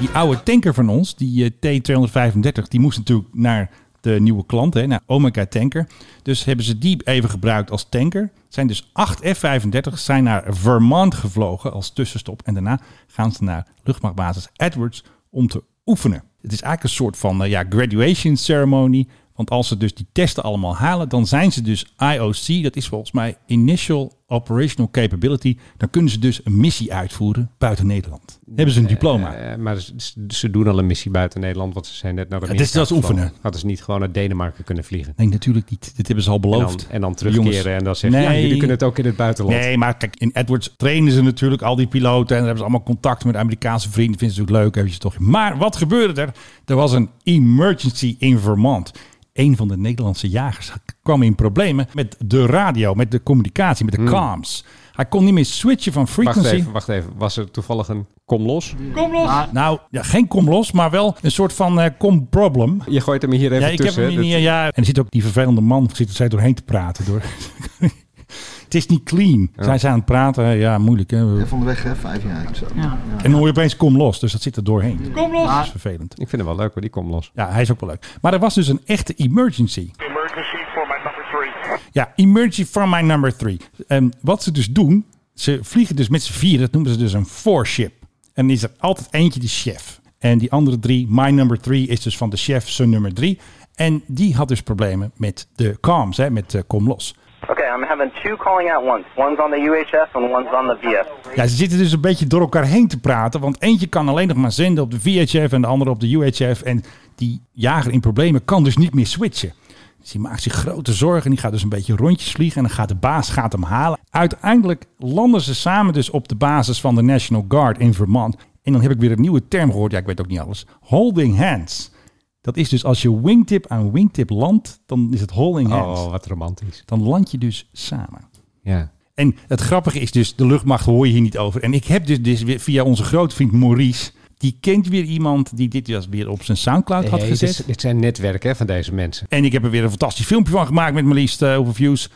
Speaker 2: Die oude tanker van ons, die eh, T235, die moest natuurlijk naar de nieuwe klant, hè, naar Omega Tanker. Dus hebben ze die even gebruikt als tanker. Zijn dus acht F-35's zijn naar Vermont gevlogen als tussenstop. En daarna gaan ze naar luchtmachtbasis Edwards om te oefenen. Het is eigenlijk een soort van eh, ja, graduation ceremony. Want als ze dus die testen allemaal halen, dan zijn ze dus IOC. Dat is volgens mij Initial Operational Capability. Dan kunnen ze dus een missie uitvoeren buiten Nederland. Dan hebben ze een diploma.
Speaker 3: Eh, maar ze, ze doen al een missie buiten Nederland, want ze zijn net naar de
Speaker 2: Het is dat oefenen.
Speaker 3: Hadden ze niet gewoon naar Denemarken kunnen vliegen.
Speaker 2: Nee, natuurlijk niet. Dit hebben ze al
Speaker 3: En
Speaker 2: beloofd.
Speaker 3: dan, en dan
Speaker 2: De jongens.
Speaker 3: terugkeren en dan zeggen, ja,
Speaker 2: Nee.
Speaker 3: jullie kunnen het ook in het buitenland.
Speaker 2: Nee, maar kijk, in Edwards trainen ze natuurlijk al die piloten. En dan hebben ze allemaal contact met Amerikaanse vrienden. Vinden ze natuurlijk leuk, heb je toch. Maar wat gebeurde er? Er was een emergency in Vermont. Een van de Nederlandse jagers kwam in problemen met de radio, met de communicatie, met de comms. Hij kon niet meer switchen van
Speaker 3: Hmm. Wacht
Speaker 2: frequency.
Speaker 3: even, wacht even. Was er toevallig een kom los?
Speaker 2: Nou, ja, geen kom los, maar wel een soort van eh, kom problem.
Speaker 3: Je gooit hem hier even
Speaker 2: Ja, ik heb
Speaker 3: tussen.
Speaker 2: hem
Speaker 3: hè?
Speaker 2: hier niet.
Speaker 3: Dat-
Speaker 2: Ja, en er zit ook die vervelende man zit er steeds doorheen te praten. Door. het is niet clean. Zij zijn aan het praten. Ja, moeilijk. Hè?
Speaker 7: Van de weg, hè? Vijf jaar of zo.
Speaker 2: En dan hoor je opeens kom los. Dus dat zit er doorheen. Kom los! Dat is vervelend.
Speaker 3: Ik vind hem wel leuk, hoor, die kom los.
Speaker 2: Ja, hij is ook wel leuk. Maar er was dus een echte emergency.
Speaker 1: Emergency for my number three.
Speaker 2: Ja, emergency from my number three. En wat ze dus doen, ze vliegen dus met z'n vier. Dat noemen ze dus een four-ship. En dan is er altijd eentje de chef. En die andere drie, my number three, is dus van de chef zijn nummer drie. En die had dus problemen met de comms, hè, met eh, kom los.
Speaker 8: Okay, I'm having two calling out once. One's on the UHF and one's on the VF.
Speaker 2: Ja, ze zitten dus een beetje door elkaar heen te praten. Want eentje kan alleen nog maar zenden op de VHF en de andere op de UHF. En die jager in problemen kan dus niet meer switchen. Dus die maakt zich grote zorgen. En die gaat dus een beetje rondjes vliegen. En dan gaat de baas gaat hem halen. Uiteindelijk landen ze samen dus op de basis van de National Guard in Vermont. En dan heb ik weer een nieuwe term gehoord. Ja, ik weet ook niet alles. Holding hands. Dat is dus als je wingtip aan wingtip landt, dan is het holding hands.
Speaker 3: Oh, wat romantisch.
Speaker 2: Dan land je dus samen.
Speaker 3: Ja.
Speaker 2: En het grappige is dus, de luchtmacht hoor je hier niet over. En ik heb dus, dus weer via onze grootvriend Maurice, die kent weer iemand die dit dus weer op zijn Soundcloud had
Speaker 3: Nee,
Speaker 2: gezet.
Speaker 3: dit, dit zijn netwerken hè, van deze mensen.
Speaker 2: En ik heb er weer een fantastisch filmpje van gemaakt met mijn liefst eh, hoeveel views.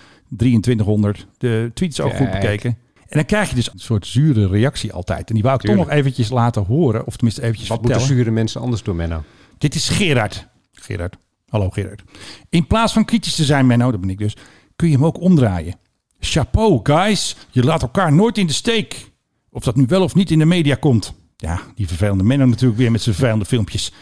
Speaker 2: 2300. De tweet is ook goed
Speaker 3: Kijk.
Speaker 2: bekeken. En dan krijg je dus een soort zure reactie altijd. En die wou ik toch
Speaker 3: Tuurlijk.
Speaker 2: nog eventjes laten horen. Of tenminste eventjes
Speaker 3: Wat moeten
Speaker 2: vertellen.
Speaker 3: zure mensen anders doen, Menno?
Speaker 2: Dit is Gerard. Gerard. Hallo Gerard. In plaats van kritisch te zijn, Menno, dat ben ik dus, kun je hem ook omdraaien. Chapeau, guys. Je laat elkaar nooit in de steek. Of dat nu wel of niet in de media komt. Ja, die vervelende Menno natuurlijk weer met zijn vervelende filmpjes.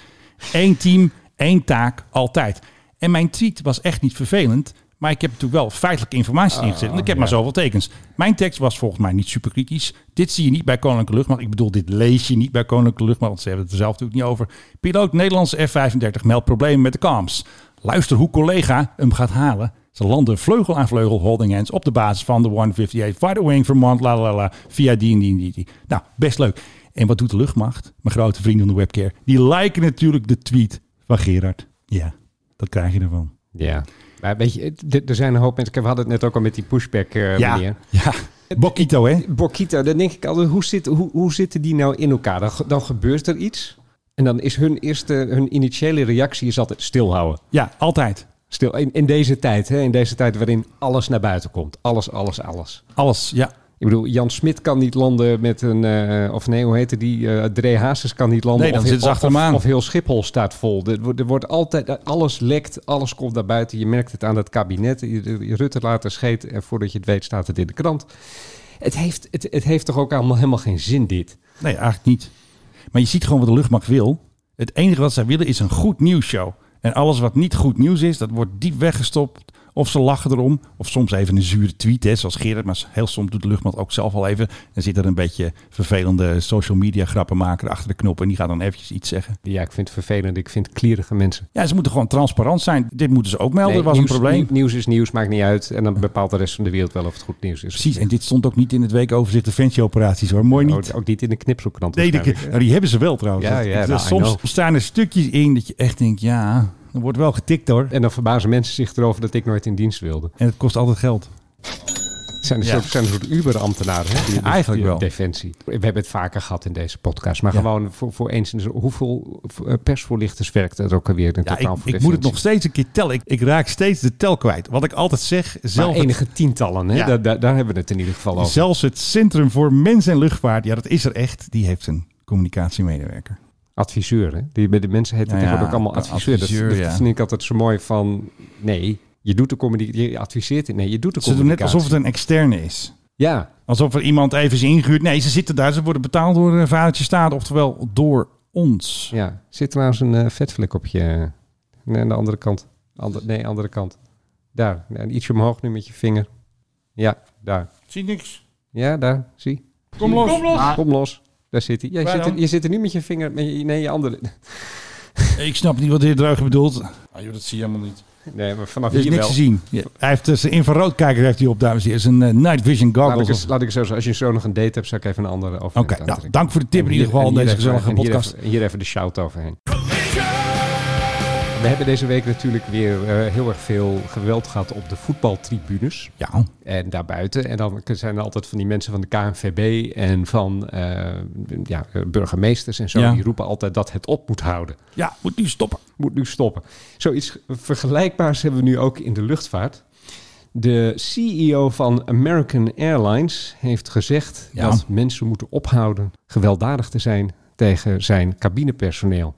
Speaker 2: Eén team, één taak, altijd. En mijn tweet was echt niet vervelend. Maar ik heb natuurlijk wel feitelijke informatie ingezet. Want ik heb maar zoveel tekens. Mijn tekst was volgens mij niet super kritisch. Dit zie je niet bij Koninklijke Luchtmacht. Ik bedoel, dit lees je niet bij Koninklijke Luchtmacht. Want ze hebben het er zelf natuurlijk niet over. Piloot Nederlandse F-35 meldt problemen met de comms. Luister hoe collega hem gaat halen. Ze landen vleugel aan vleugel holding hands op de basis van de 158 Fighter Wing Vermont. La la la. Via die en die en die, die. Nou, best leuk. En wat doet de luchtmacht? Mijn grote vrienden van de webcare. Die liken natuurlijk de tweet van Gerard. Ja, dat krijg je ervan.
Speaker 3: Ja. Maar weet je, d- er zijn een hoop mensen. We hadden het net ook al met die pushback eh meneer.
Speaker 2: ja. ja. Bokito, hè?
Speaker 3: Bokito, dan denk ik altijd, hoe, zit, hoe, hoe zitten die nou in elkaar? Dan, ge- dan gebeurt er iets. En dan is hun eerste, hun initiële reactie is altijd stilhouden.
Speaker 2: Ja, altijd.
Speaker 3: Stil, in, in deze tijd, hè, in deze tijd waarin alles naar buiten komt. Alles, alles, alles.
Speaker 2: Alles, ja.
Speaker 3: Ik bedoel, Jan Smit kan niet landen met een, eh, of nee, hoe heette die? eh Dre Hazes kan niet landen.
Speaker 2: Nee, dan
Speaker 3: of,
Speaker 2: zitten ze
Speaker 3: of-
Speaker 2: achter hem
Speaker 3: of-
Speaker 2: aan.
Speaker 3: Of heel Schiphol staat vol. Er, wordt- er wordt altijd, eh, alles lekt, alles komt naar buiten. Je merkt het aan het kabinet. Je- je Rutte laat er scheet en voordat je het weet staat het in de krant. Het heeft, het, het heeft toch ook allemaal helemaal geen zin dit?
Speaker 2: Nee, eigenlijk niet. Maar je ziet gewoon wat de luchtmacht wil. Het enige wat zij willen is een goed nieuwsshow. En alles wat niet goed nieuws is, dat wordt diep weggestopt. Of ze lachen erom. Of soms even een zure tweet, hè, zoals Gerrit. Maar heel soms doet de luchtmacht ook zelf al even. Dan zit er een beetje vervelende social media grappenmaker achter de knop. En die gaat dan eventjes iets zeggen.
Speaker 3: Ja, ik vind het vervelend. Ik vind klierige mensen.
Speaker 2: Ja, ze moeten gewoon transparant zijn. Dit moeten ze ook melden.
Speaker 3: Nee,
Speaker 2: Nou, was
Speaker 3: nieuws,
Speaker 2: een probleem.
Speaker 3: nie- Nieuws is nieuws, maakt niet uit. En dan bepaalt de rest van de wereld wel of het goed nieuws is.
Speaker 2: Precies. En dit stond ook niet in het weekoverzicht defensieoperaties hoor. Mooi niet.
Speaker 3: Oh, Ook, ook niet in de knipselkrant.
Speaker 2: Nee, die,
Speaker 3: waarschijnlijk, hè?
Speaker 2: nou, die hebben ze wel trouwens.
Speaker 3: Ja,
Speaker 2: Dat-
Speaker 3: ja,
Speaker 2: dat-
Speaker 3: nou, I
Speaker 2: soms
Speaker 3: know.
Speaker 2: staan er stukjes in dat je echt denkt, ja, er wordt wel getikt hoor.
Speaker 3: En dan verbazen mensen zich erover dat ik nooit in dienst wilde.
Speaker 2: En het kost altijd geld.
Speaker 3: Het zijn een
Speaker 2: Ja.
Speaker 3: soort, zijn een soort Uber-ambtenaren. hè, die- die-
Speaker 2: Eigenlijk
Speaker 3: die-
Speaker 2: wel.
Speaker 3: Defensie. We hebben het vaker gehad in deze podcast. Maar
Speaker 2: Ja.
Speaker 3: gewoon voor, voor eens in de zo- Hoeveel eh, persvoorlichters werkt dat ook alweer in
Speaker 2: Ja, ik,
Speaker 3: totaal voor
Speaker 2: ik moet het nog
Speaker 3: Defensie?
Speaker 2: steeds een keer tellen. Ik, ik raak steeds de tel kwijt. Wat ik altijd zeg, zelf
Speaker 3: Maar
Speaker 2: het,
Speaker 3: enige tientallen, hè?
Speaker 2: Ja.
Speaker 3: Daar, daar, daar hebben we het in ieder geval over.
Speaker 2: zelfs het Centrum voor Mens en Luchtvaart, ja dat is er echt, die heeft een communicatiemedewerker.
Speaker 3: Adviseur, hè? Die, bij de mensen heten
Speaker 2: Ja,
Speaker 3: tegenwoordig ook allemaal
Speaker 2: ja,
Speaker 3: adviseur. Dat-
Speaker 2: adviseur,
Speaker 3: dat
Speaker 2: ja.
Speaker 3: vind ik altijd zo mooi van... Nee, je doet de comedy... Je adviseert... het. Nee, je doet de
Speaker 2: Ze doen net
Speaker 3: communicatie.
Speaker 2: alsof het een externe is.
Speaker 3: Ja,
Speaker 2: Alsof er iemand even is ingehuurd. Nee, ze zitten daar. Ze worden betaald door een vadertje staat, oftewel door ons.
Speaker 3: ja. Zit trouwens een eh, vetvlek op je... Nee, aan de andere kant. Ander, nee, andere kant. Daar. Ja, ietsje omhoog nu met je vinger. Ja, daar.
Speaker 2: Zie niks.
Speaker 3: Ja, daar. Zie.
Speaker 2: Kom los. Ah. Kom los.
Speaker 3: Kom los. Daar zit hij. Ja, je,
Speaker 2: Waar
Speaker 3: zit er,
Speaker 2: dan?
Speaker 3: je zit er nu met je vinger... Met je, nee, je andere...
Speaker 2: Ik snap niet wat de heer Dreugen bedoelt. Ah, joh, dat zie je helemaal niet.
Speaker 3: Nee, maar vanaf
Speaker 2: Er is
Speaker 3: hier
Speaker 2: niks
Speaker 3: wel.
Speaker 2: te zien. Ja, Hij heeft eh, zijn infraroodkijker heeft hij op, dames en heren. Zijn eh, night vision
Speaker 3: Laat ik,
Speaker 2: goggles.
Speaker 3: eens,
Speaker 2: Oké,
Speaker 3: laat ik zo zeggen, als je zo nog een date hebt, zou ik even een andere over.
Speaker 2: nou, dank voor de tip in ieder geval in deze gezellige podcast.
Speaker 3: Hier even, hier even de shout overheen. We hebben deze week natuurlijk weer eh, heel erg veel geweld gehad op de voetbaltribunes
Speaker 2: Ja,
Speaker 3: en daarbuiten. En dan zijn er altijd van die mensen van de KNVB en van eh, ja, burgemeesters en zo.
Speaker 2: Ja.
Speaker 3: Die roepen altijd dat het op moet houden.
Speaker 2: ja, moet nu stoppen.
Speaker 3: moet nu stoppen. Zoiets vergelijkbaars hebben we nu ook in de luchtvaart. De CEO van American Airlines heeft gezegd
Speaker 2: Ja.
Speaker 3: dat mensen moeten ophouden gewelddadig te zijn tegen zijn cabinepersoneel.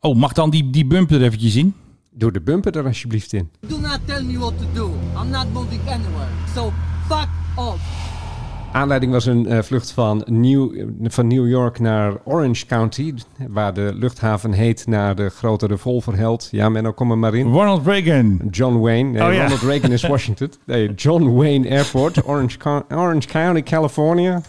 Speaker 2: Oh, mag dan die, die bumper er eventjes in?
Speaker 3: Door de bumper er alsjeblieft in.
Speaker 7: Do not tell me what to do. I'm not moving anywhere. So fuck off.
Speaker 3: Aanleiding was een eh, vlucht van New, van New York naar Orange County, waar de luchthaven heet naar de grote revolverheld. Ja, Menno, kom er maar in.
Speaker 2: Ronald Reagan.
Speaker 3: John Wayne. Nee,
Speaker 2: Oh, ja.
Speaker 3: Ronald Reagan is Washington. Nee, John Wayne Airport, Orange, Co- Orange County, California.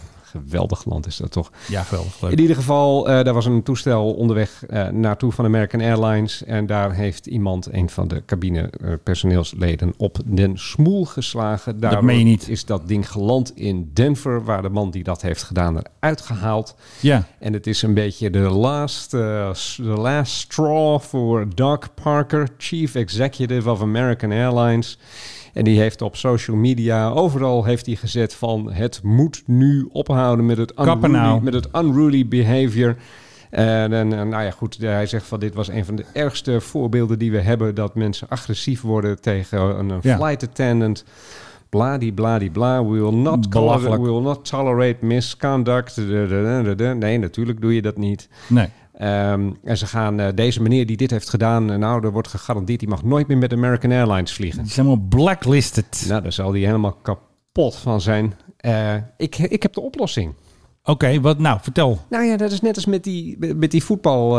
Speaker 3: Geweldig land is dat toch?
Speaker 2: Ja, geweldig.
Speaker 3: In
Speaker 2: Leuk.
Speaker 3: ieder geval, eh, daar was een toestel onderweg eh, naartoe van American Airlines. En daar heeft iemand, een van de cabine eh, personeelsleden, op den smoel geslagen. Daardoor
Speaker 2: meen je niet.
Speaker 3: is dat ding geland in Denver, waar de man die dat heeft gedaan eruit gehaald.
Speaker 2: Ja,
Speaker 3: En het is een beetje de last, eh, s- the last straw voor Doug Parker, Chief Executive of American Airlines. En die heeft op social media, overal heeft hij gezet van het moet nu ophouden met het
Speaker 2: Kappen
Speaker 3: unruly,
Speaker 2: nou.
Speaker 3: met het unruly behavior. En, en, en, nou ja, goed, hij zegt van dit was een van de ergste voorbeelden die we hebben. Dat mensen agressief worden tegen een, een
Speaker 2: Ja.
Speaker 3: flight attendant. Bladibladibla. We will not
Speaker 2: Belachelijk.
Speaker 3: tolerate, we will not tolerate misconduct. Dadadadada. Nee, natuurlijk doe je dat niet.
Speaker 2: nee.
Speaker 3: Ehm, en ze gaan eh, deze meneer die dit heeft gedaan, eh, nou, er wordt gegarandeerd, die mag nooit meer met American Airlines vliegen.
Speaker 2: Die is helemaal blacklisted.
Speaker 3: Nou, daar zal hij helemaal kapot van zijn. Eh, ik, ik heb de oplossing.
Speaker 2: Oké, wat nou? Vertel.
Speaker 3: Nou ja, dat is net als met die, met die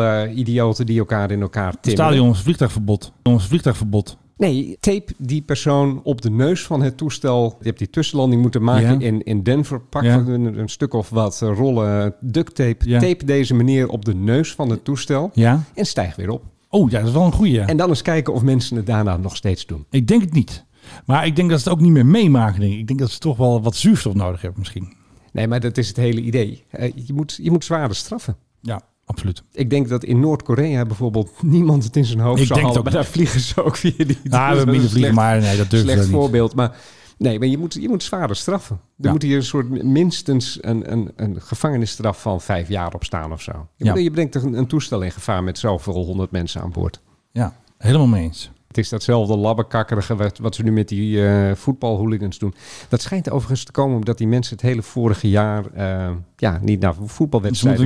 Speaker 3: voetbalidioten die elkaar in elkaar timmen.
Speaker 2: Stadion is vliegtuigverbod. Ons vliegtuigverbod.
Speaker 3: Nee, tape die persoon op de neus van het toestel. Je hebt die tussenlanding moeten maken
Speaker 2: Ja.
Speaker 3: in, in Denver. Pak
Speaker 2: Ja.
Speaker 3: een, een stuk of wat eh, rollen duct tape.
Speaker 2: Ja.
Speaker 3: Tape deze meneer op de neus van het toestel.
Speaker 2: Ja.
Speaker 3: En stijg weer op.
Speaker 2: Oh, ja, dat is wel een goeie. ja.
Speaker 3: En dan eens kijken of mensen het daarna nog steeds doen.
Speaker 2: Ik denk het niet. Maar ik denk dat ze het ook niet meer meemaken. Denk ik. ik denk dat ze toch wel wat zuurstof nodig hebben misschien.
Speaker 3: Nee, maar dat is het hele idee. Eh, je, moet, je moet zware straffen.
Speaker 2: Ja. absoluut.
Speaker 3: Ik denk dat in Noord-Korea bijvoorbeeld niemand het in zijn hoofd
Speaker 2: Ik
Speaker 3: zou
Speaker 2: denk het
Speaker 3: halen.
Speaker 2: ook
Speaker 3: Maar daar vliegen ze ook weer niet.
Speaker 2: Ah, we hebben
Speaker 3: Dat is
Speaker 2: minder
Speaker 3: een
Speaker 2: vliegen,
Speaker 3: slecht-
Speaker 2: maar nee, dat durven ze
Speaker 3: Slecht
Speaker 2: niet.
Speaker 3: voorbeeld, maar... Nee, maar je moet, je moet zwaarder straffen. Er
Speaker 2: Ja.
Speaker 3: moet hier een soort minstens een, een, een gevangenisstraf van vijf jaar op staan of zo. Je,
Speaker 2: Ja.
Speaker 3: moet- je brengt een, een toestel in gevaar met zoveel honderd mensen aan boord.
Speaker 2: Ja, helemaal mee eens.
Speaker 3: Het is datzelfde labbekakkerige wat, wat ze nu met die eh voetbalhooligans doen. Dat schijnt overigens te komen omdat die mensen het hele vorige jaar eh, ja, niet naar
Speaker 2: Dus we
Speaker 3: voetbalwedstrijden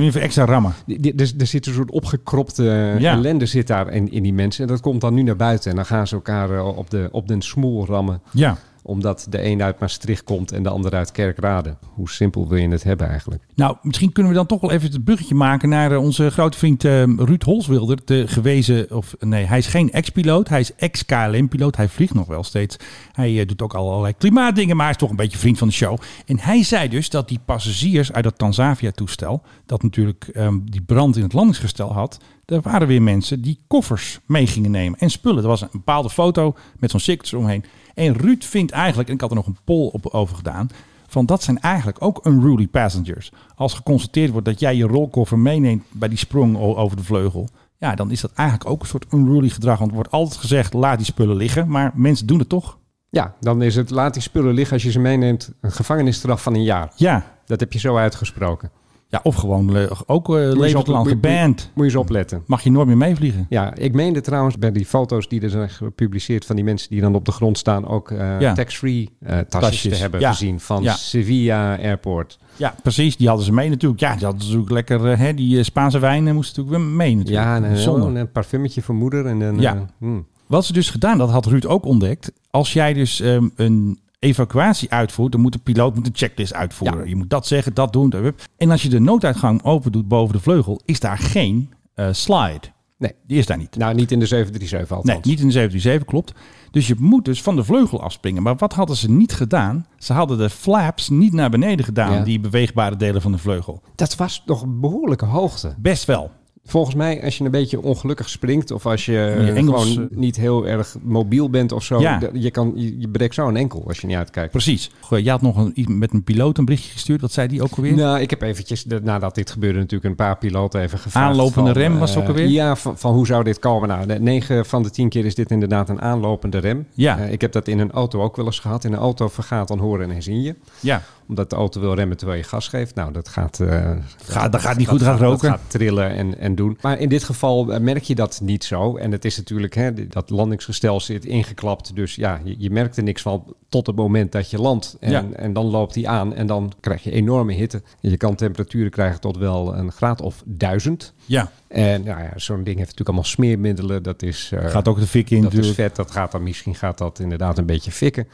Speaker 2: moeten nu even extra rammen.
Speaker 3: die- die- Er, er zit een soort opgekropte eh,
Speaker 2: Ja.
Speaker 3: ellende zit daar in, in die mensen. En dat komt dan nu naar buiten. En dan gaan ze elkaar eh, op, de, op den smoel rammen.
Speaker 2: Ja.
Speaker 3: Omdat de een uit Maastricht komt en de ander uit Kerkrade. Hoe simpel wil je het hebben eigenlijk?
Speaker 2: Nou, misschien kunnen we dan toch wel even het bruggetje maken naar eh, onze grote vriend eh, Ruud Holswilder. De gewezen, of nee, hij is geen ex-piloot. Hij is ex-KLM-piloot. Hij vliegt nog wel steeds. Hij eh, doet ook al allerlei klimaatdingen, maar hij is toch een beetje vriend van de show. En hij zei dus dat die passagiers uit dat Tanzavia-toestel, dat natuurlijk eh, die brand in het landingsgestel had, er waren weer mensen die koffers mee gingen nemen en spullen. Er was een bepaalde foto met zo'n circus omheen. En Ruud vindt eigenlijk, en ik had er nog een poll op over gedaan, van dat zijn eigenlijk ook unruly passengers. Als geconstateerd wordt dat jij je rolkoffer meeneemt bij die sprong o- over de vleugel. Ja, dan is dat eigenlijk ook een soort unruly gedrag. Want er wordt altijd gezegd, laat die spullen liggen. Maar mensen doen het toch?
Speaker 3: Ja, dan is het laat die spullen liggen als je ze meeneemt. Een gevangenisstraf van een jaar.
Speaker 2: Ja.
Speaker 3: Dat heb je zo uitgesproken.
Speaker 2: ja of gewoon eh, ook eh
Speaker 3: Moet je eens op-
Speaker 2: levenslang
Speaker 3: moet-
Speaker 2: geband.
Speaker 3: Moet je eens opletten.
Speaker 2: Mag je nooit meer meevliegen.
Speaker 3: Ja, ik meende trouwens bij die foto's die er zijn gepubliceerd van die mensen die dan op de grond staan ook eh,
Speaker 2: Ja.
Speaker 3: tax-free eh, tasjes,
Speaker 2: Tasjes,
Speaker 3: te hebben
Speaker 2: ja.
Speaker 3: gezien van
Speaker 2: Ja.
Speaker 3: Sevilla Airport.
Speaker 2: Ja, precies. Die hadden ze mee natuurlijk. Ja, die hadden ze natuurlijk lekker... eh, hè, die eh, Spaanse wijn eh, moest natuurlijk weer mee natuurlijk.
Speaker 3: Ja, en, eh,
Speaker 2: Zonde.
Speaker 3: oh, een parfummetje voor moeder. En dan,
Speaker 2: Ja.
Speaker 3: eh, hmm.
Speaker 2: Wat ze dus gedaan, dat had Ruud ook ontdekt. Als jij dus ehm, een evacuatie uitvoert, dan moet de piloot moet een checklist uitvoeren.
Speaker 3: Ja.
Speaker 2: Je moet dat zeggen, dat doen. dat- hup. En als je de nooduitgang open doet boven de vleugel, is daar geen eh, slide.
Speaker 3: Nee.
Speaker 2: Die is daar niet.
Speaker 3: Nou, niet in de 737
Speaker 2: Nee,
Speaker 3: althans.
Speaker 2: niet in de 737, klopt. Dus je moet dus van de vleugel afspringen. Maar wat hadden ze niet gedaan? Ze hadden de flaps niet naar beneden gedaan,
Speaker 3: Ja.
Speaker 2: die beweegbare delen van de vleugel.
Speaker 3: Dat was nog een behoorlijke hoogte.
Speaker 2: Best wel.
Speaker 3: Volgens mij, als je een beetje ongelukkig springt... of als je eh,
Speaker 2: je enkels,
Speaker 3: gewoon
Speaker 2: eh,
Speaker 3: niet heel erg mobiel bent of zo...
Speaker 2: Ja.
Speaker 3: dat- Je, kan, je, je breekt zo een enkel als je niet uitkijkt.
Speaker 2: Precies. Je had nog een, iets met een piloot een berichtje gestuurd. Wat zei die ook alweer?
Speaker 3: Nou, ik heb eventjes, de- nadat dit gebeurde, natuurlijk een paar piloten even gevraagd.
Speaker 2: Aanlopende
Speaker 3: van,
Speaker 2: rem was het ook
Speaker 3: eh,
Speaker 2: alweer?
Speaker 3: Ja, van, van hoe zou dit komen? Nou, de- negen van de tien keer is dit inderdaad een aanlopende rem.
Speaker 2: Ja.
Speaker 3: Eh, ik heb dat in een auto ook wel eens gehad. In een auto vergaat dan horen en zien je.
Speaker 2: Ja.
Speaker 3: Omdat de auto wil remmen terwijl je gas geeft. Nou, dat gaat... eh,
Speaker 2: Gaat, dat gaat niet goed, gaat
Speaker 3: Dat
Speaker 2: roken.
Speaker 3: gaat trillen en, en doen. Maar in dit geval eh, merk je dat niet zo. En het is natuurlijk, hè, d- dat landingsgestel zit ingeklapt. Dus ja, je, je merkt er niks van tot het moment dat je landt. En,
Speaker 2: Ja.
Speaker 3: en dan loopt hij aan en dan krijg je enorme hitte. Je kan temperaturen krijgen tot wel een graad of duizend.
Speaker 2: Ja.
Speaker 3: En nou ja, zo'n ding heeft natuurlijk allemaal smeermiddelen. Dat is, eh,
Speaker 2: Gaat ook de fik in
Speaker 3: dat is
Speaker 2: natuurlijk.
Speaker 3: vet. Dat gaat dan, misschien gaat dat inderdaad een beetje fikken.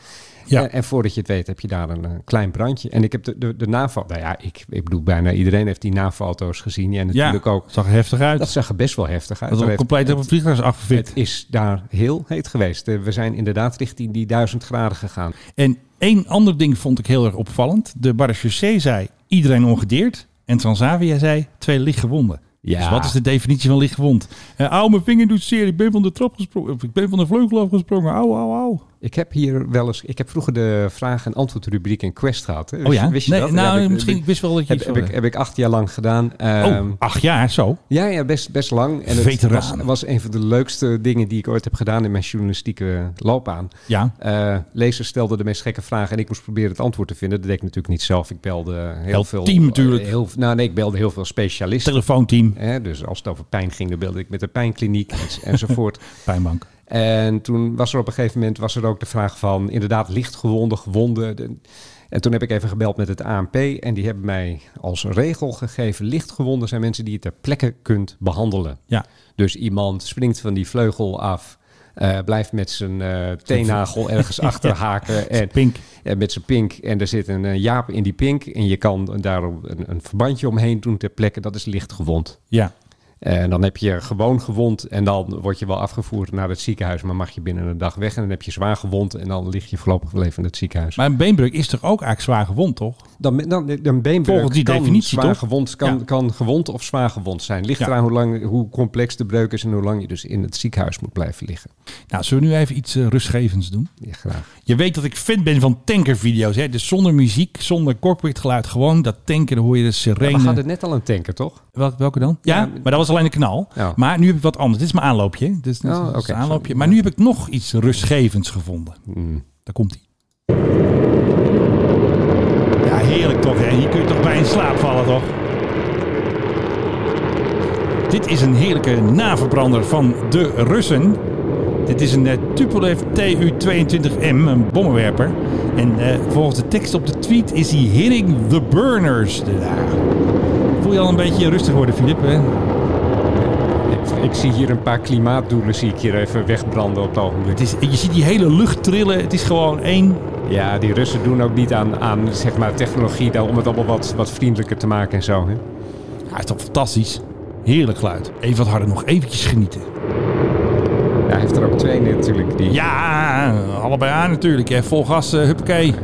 Speaker 2: Ja.
Speaker 3: En, en voordat je het weet heb je daar een eh, klein brandje. En ik heb de, de, de NAVO... Nou ja, ik, ik bedoel bijna iedereen heeft die NAVO-auto's gezien. En natuurlijk
Speaker 2: ja,
Speaker 3: ook...
Speaker 2: zag er heftig uit.
Speaker 3: Dat
Speaker 2: Dat,
Speaker 3: zag er best wel heftig uit.
Speaker 2: dat
Speaker 3: Er
Speaker 2: er
Speaker 3: heeft-
Speaker 2: compleet op een vliegtuig is afgefikt.
Speaker 3: het is daar heel heet geweest. Eh, We zijn inderdaad richting die duizend graden gegaan.
Speaker 2: En één ander ding vond ik heel erg opvallend. De Barrechaussee zei iedereen ongedeerd. En Transavia zei twee lichtgewonden.
Speaker 3: Ja.
Speaker 2: Dus wat is de definitie van lichtgewond? Eh au, mijn vinger doet zeer. Ik ben van de trap gesprongen. Of ik ben van de vleugel afgesprongen. Au, au, au.
Speaker 3: Ik heb hier wel eens... Ik heb vroeger de vraag- en antwoordrubriek in Quest gehad. hè. Wist
Speaker 2: Oh
Speaker 3: je-
Speaker 2: ja?
Speaker 3: Wist je
Speaker 2: Nee,
Speaker 3: dat?
Speaker 2: nou,
Speaker 3: Ja, heb ik-
Speaker 2: misschien
Speaker 3: heb
Speaker 2: ik
Speaker 3: ik-
Speaker 2: wist wel dat je
Speaker 3: Heb,
Speaker 2: iets
Speaker 3: heb,
Speaker 2: van-
Speaker 3: ik, heb ik acht jaar lang gedaan. Ehm,
Speaker 2: Oh, acht jaar, zo.
Speaker 3: Ja, ja best, best lang. En het
Speaker 2: Veteraan.
Speaker 3: was, was een van de leukste dingen die ik ooit heb gedaan in mijn journalistieke loopbaan.
Speaker 2: Ja.
Speaker 3: Eh, lezers stelden de meest gekke vragen en ik moest proberen het antwoord te vinden. Dat deed ik natuurlijk niet zelf. Ik belde heel
Speaker 2: Heel
Speaker 3: veel...
Speaker 2: team natuurlijk.
Speaker 3: Heel, nou nee, ik belde heel veel specialisten.
Speaker 2: Telefoonteam,
Speaker 3: Hè, dus als het over pijn ging, dan belde ik met de pijnkliniek en- enzovoort.
Speaker 2: pijnbank.
Speaker 3: En toen was er op een gegeven moment was er ook de vraag van inderdaad lichtgewonden, gewonden. De- En toen heb ik even gebeld met het ANP en die hebben mij als regel gegeven: lichtgewonden zijn mensen die je ter plekke kunt behandelen.
Speaker 2: Ja.
Speaker 3: Dus iemand springt van die vleugel af, eh, blijft met zijn eh teennagel ergens achter haken en,
Speaker 2: Pink.
Speaker 3: en met zijn pink. En er zit een eh, jaap in die pink en je kan daarom een, een verbandje omheen doen ter plekke. Dat is lichtgewond.
Speaker 2: Ja.
Speaker 3: Eh, En dan heb je gewoon gewond en dan word je wel afgevoerd naar het ziekenhuis, maar mag je binnen een dag weg. En dan heb je zwaar gewond en dan lig je voorlopig wel even in het ziekenhuis.
Speaker 2: Maar een beenbreuk is toch ook eigenlijk zwaar gewond, toch?
Speaker 3: Dan, dan, een beenbreuk
Speaker 2: Volgens die
Speaker 3: kan
Speaker 2: definitie,
Speaker 3: zwaar
Speaker 2: toch?
Speaker 3: gewond, kan,
Speaker 2: Ja.
Speaker 3: kan gewond of zwaar gewond zijn. Ligt
Speaker 2: Ja.
Speaker 3: eraan hoe, lang, hoe complex de breuk is en hoe lang je dus in het ziekenhuis moet blijven liggen.
Speaker 2: Nou, zullen we nu even iets eh, rustgevends doen?
Speaker 3: Ja, graag.
Speaker 2: Je weet dat ik fan ben van tankervideo's. Hè? Dus zonder muziek, zonder corporate geluid. Gewoon dat tanken, dan hoor je de
Speaker 3: We
Speaker 2: sirene.
Speaker 3: hadden net al een tanker, toch?
Speaker 2: Wel- welke dan? Ja,
Speaker 3: Ja,
Speaker 2: maar dat was alleen een knal.
Speaker 3: Ja.
Speaker 2: Maar nu heb ik wat anders. Dit is mijn aanloopje. Dus, hè? Dit is, dit is
Speaker 3: Oh,
Speaker 2: een
Speaker 3: oké,
Speaker 2: aanloopje.
Speaker 3: sorry.
Speaker 2: Maar nu heb ik nog iets rustgevends gevonden. Daar komt ie. Ja, heerlijk toch. Hè? Hier kun je toch bij in slaap vallen, toch? Dit is een heerlijke naverbrander van de Russen. Dit is een eh, Tupolev Tu-22M, een bommenwerper. En eh, volgens de tekst op de tweet is hij hitting the burners. Ja. Voel je al een beetje rustig worden, Filip? Hè?
Speaker 3: Ik, ik zie hier een paar klimaatdoelen zie ik hier even wegbranden op het ogenblik.
Speaker 2: Het is, je ziet die hele lucht trillen. Het is gewoon één.
Speaker 3: Ja, die Russen doen ook niet aan, aan zeg maar, technologie daar om het allemaal wat, wat vriendelijker te maken en zo. Hè?
Speaker 2: Ja, het is toch fantastisch. Heerlijk geluid. Even wat harder nog. Eventjes genieten.
Speaker 3: Ja, hij heeft er ook twee natuurlijk. Die,
Speaker 2: Ja, allebei aan natuurlijk. Hè. Vol gas, eh, huppakee.